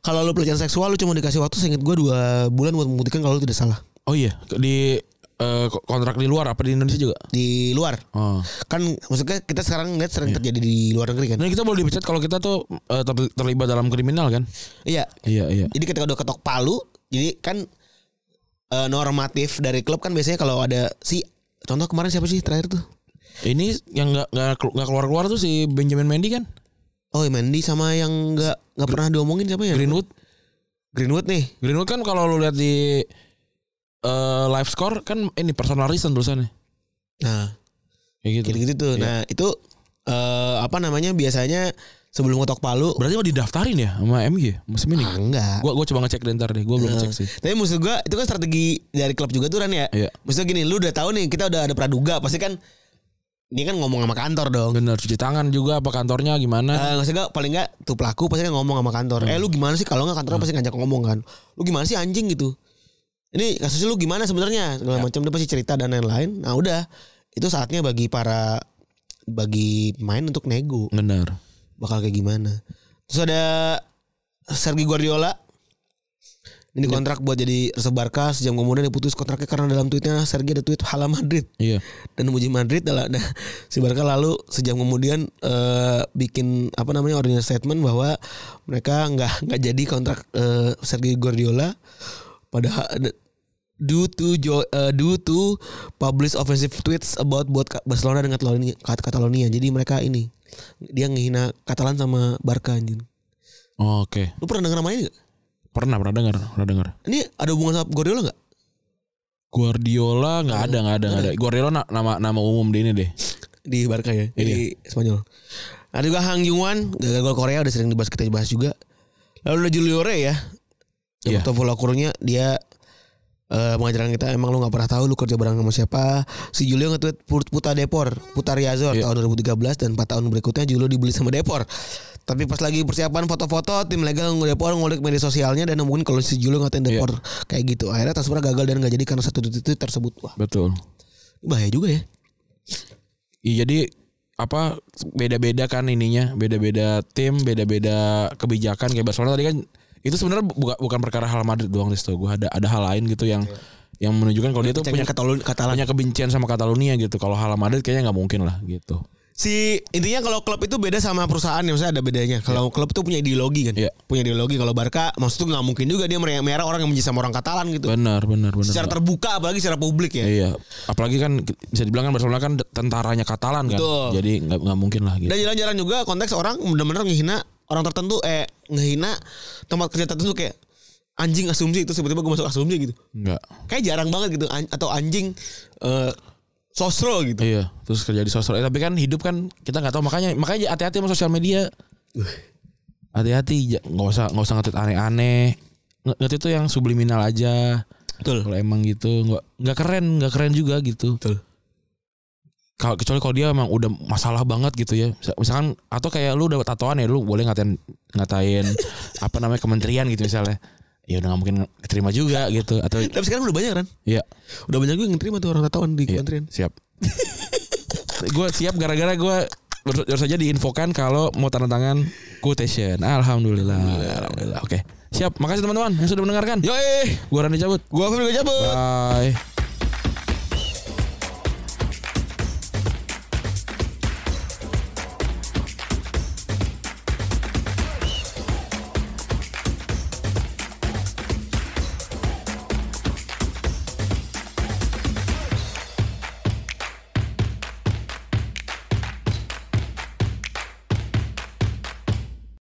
B: kalau lu pelecehan seksual lu cuma dikasih waktu seingat gua dua bulan buat membuktikan kalau lu tidak salah
C: oh iya di eh, ko- kontrak di luar apa di Indonesia juga
B: di luar.
C: oh
B: Kan maksudnya kita sekarang ngeliat sering terjadi di luar negeri kan.
C: dan kita boleh dipecat kalau kita tuh eh, ter- terlibat dalam kriminal kan
B: Iya.
C: iya iya
B: Jadi ketika udah ketok palu, jadi kan eh, normatif dari klub kan biasanya kalau ada si contoh kemarin siapa sih terakhir tuh?
C: ini yang nggak nggak keluar keluar tuh si Benjamin Mendy kan
B: Oh, Mandy sama yang nggak nggak pernah diomongin siapa ya?
C: Greenwood
B: Greenwood nih.
C: Greenwood kan kalau lu lihat di eh, live score kan ini personal reason tulisannya
B: Nah,
C: kayak gitu.
B: gitu-gitu tuh.
C: Iya.
B: Nah, itu eh, apa namanya biasanya sebelum ngetok palu
C: Berarti mau didaftarin ya sama MG musim ini?
B: ah, enggak.
C: Gua gua coba ngecek deh ntar deh, gua belum cek sih.
B: Tapi maksud gua itu kan strategi dari klub juga tuh Ran ya.
C: Iya.
B: Maksudnya gini, lu udah tahu nih kita udah ada praduga, pasti kan dia kan ngomong sama kantor dong.
C: Bener cuci tangan juga apa kantornya gimana?
B: Eh, nggak sih nggak, paling nggak tuh pelaku pasti kan ngomong sama kantor. Eh lu gimana sih kalau nggak kantor pasti ngajak ngomong kan. Lu gimana sih anjing gitu. Ini kasusnya lu gimana sebenarnya segala macam dia pasti cerita dan lain-lain. Nah udah itu saatnya bagi para bagi pemain untuk nego
C: Bener.
B: bakal kayak gimana. Terus ada Sergi Guardiola ini kontrak buat jadi resep Barca sejam kemudian diputus kontraknya karena dalam tweetnya Sergi ada tweet hala Madrid
C: Iya.
B: dan memuji Madrid adalah nah, si Barca lalu sejam kemudian eh, bikin apa namanya ordinary statement bahwa mereka nggak nggak jadi kontrak eh, Sergio Guardiola padahal due to jo- eh, due to publish offensive tweets about buat Ka- Barcelona dengan Catalonia, Kat- Catalonia. Jadi mereka ini dia ngehina Catalan sama Barca anjing.
C: Oke.
B: Lu pernah denger namanya gak?
C: Pernah pernah dengar, pernah dengar.
B: Ini ada hubungan sama Guardiola gak?
C: Guardiola nggak ada nggak ada nggak ada. Guardiola na- nama nama umum di ini deh.
B: di Barca ya di
C: Iya.
B: Spanyol. Ada juga Hang Jungwan gagal gol Korea udah sering dibahas kita bahas juga. Lalu ada Julio Rey ya. Yang
C: Iya.
B: waktu follow kurungnya dia eh pengajaran kita emang lu nggak pernah tahu lu kerja bareng sama siapa. Si Julio nge-tweet Put- Puta Depor, Puta Riazor
C: Iya.
B: tahun 2013 dan 4 tahun berikutnya Julio dibeli sama Depor. Tapi pas lagi persiapan foto-foto tim legal Depor ngulik media sosialnya dan nemuin kalau si Julio ngatain
C: Iya.
B: Depor kayak gitu. Akhirnya transfer gagal dan nggak jadi karena satu tweet tersebut. Wah,
C: Betul.
B: bahaya juga ya.
C: Iya jadi apa beda-beda kan ininya, beda-beda tim, beda-beda kebijakan kayak Barcelona tadi kan itu sebenarnya bukan bukan perkara hal Madrid doang Risto. Gua ada ada hal lain gitu yang
B: Iya.
C: yang menunjukkan kalau dia tuh
B: Punya
C: punya
B: Katalon Katalan.
C: punya kebencian sama Catalonia gitu. Kalau hal Madrid kayaknya nggak mungkin lah gitu.
B: si intinya kalau klub itu beda sama perusahaan ya maksudnya ada bedanya kalau klub itu punya ideologi kan
C: Iya.
B: punya ideologi kalau Barca maksud tuh nggak mungkin juga dia merah merah orang yang benci sama orang Katalan gitu
C: Benar, benar, benar.
B: secara terbuka apalagi secara publik ya
C: Iya, apalagi kan bisa dibilang kan Barcelona kan tentaranya Katalan kan.
B: Betul.
C: Jadi nggak nggak mungkin lah gitu.
B: dan jalan-jalan juga konteks orang benar-benar ngehina orang tertentu eh ngehina tempat kerja tertentu kayak anjing asumsi itu tiba-tiba gue masuk asumsi gitu
C: Enggak.
B: kayak jarang banget gitu an- atau anjing eh, sosro gitu
C: Iya, terus kerja di sosial. Eh, tapi kan hidup kan kita nggak tahu makanya makanya hati-hati sama sosial media. Hati-hati, ja- nggak usah nggak usah ngetit aneh-aneh. Nge- Ngetit tuh yang subliminal aja.
B: betul
C: Kalau emang gitu nggak nggak keren nggak keren juga gitu.
B: Betul.
C: Kalau kecuali kalau dia emang udah masalah banget gitu ya. Misa- Misalkan atau kayak lu udah tatoan ya lu boleh ngatain ngatain apa namanya kementerian gitu misalnya. Ya udah nggak mungkin terima juga gitu atau
B: tapi sekarang udah banyak kan
C: ya
B: udah banyak gue yang terima tuh orang tatawan di
C: Iya,
B: kementerian
C: siap. gue siap gara-gara gue baru saja diinfokan kalau mau tanda tangan quotation. Alhamdulillah. Alhamdulillah. Oke. Siap. Makasih teman-teman yang sudah mendengarkan.
B: yoi
C: Gue Rani cabut.
B: gue Febri gue cabut
C: Bye.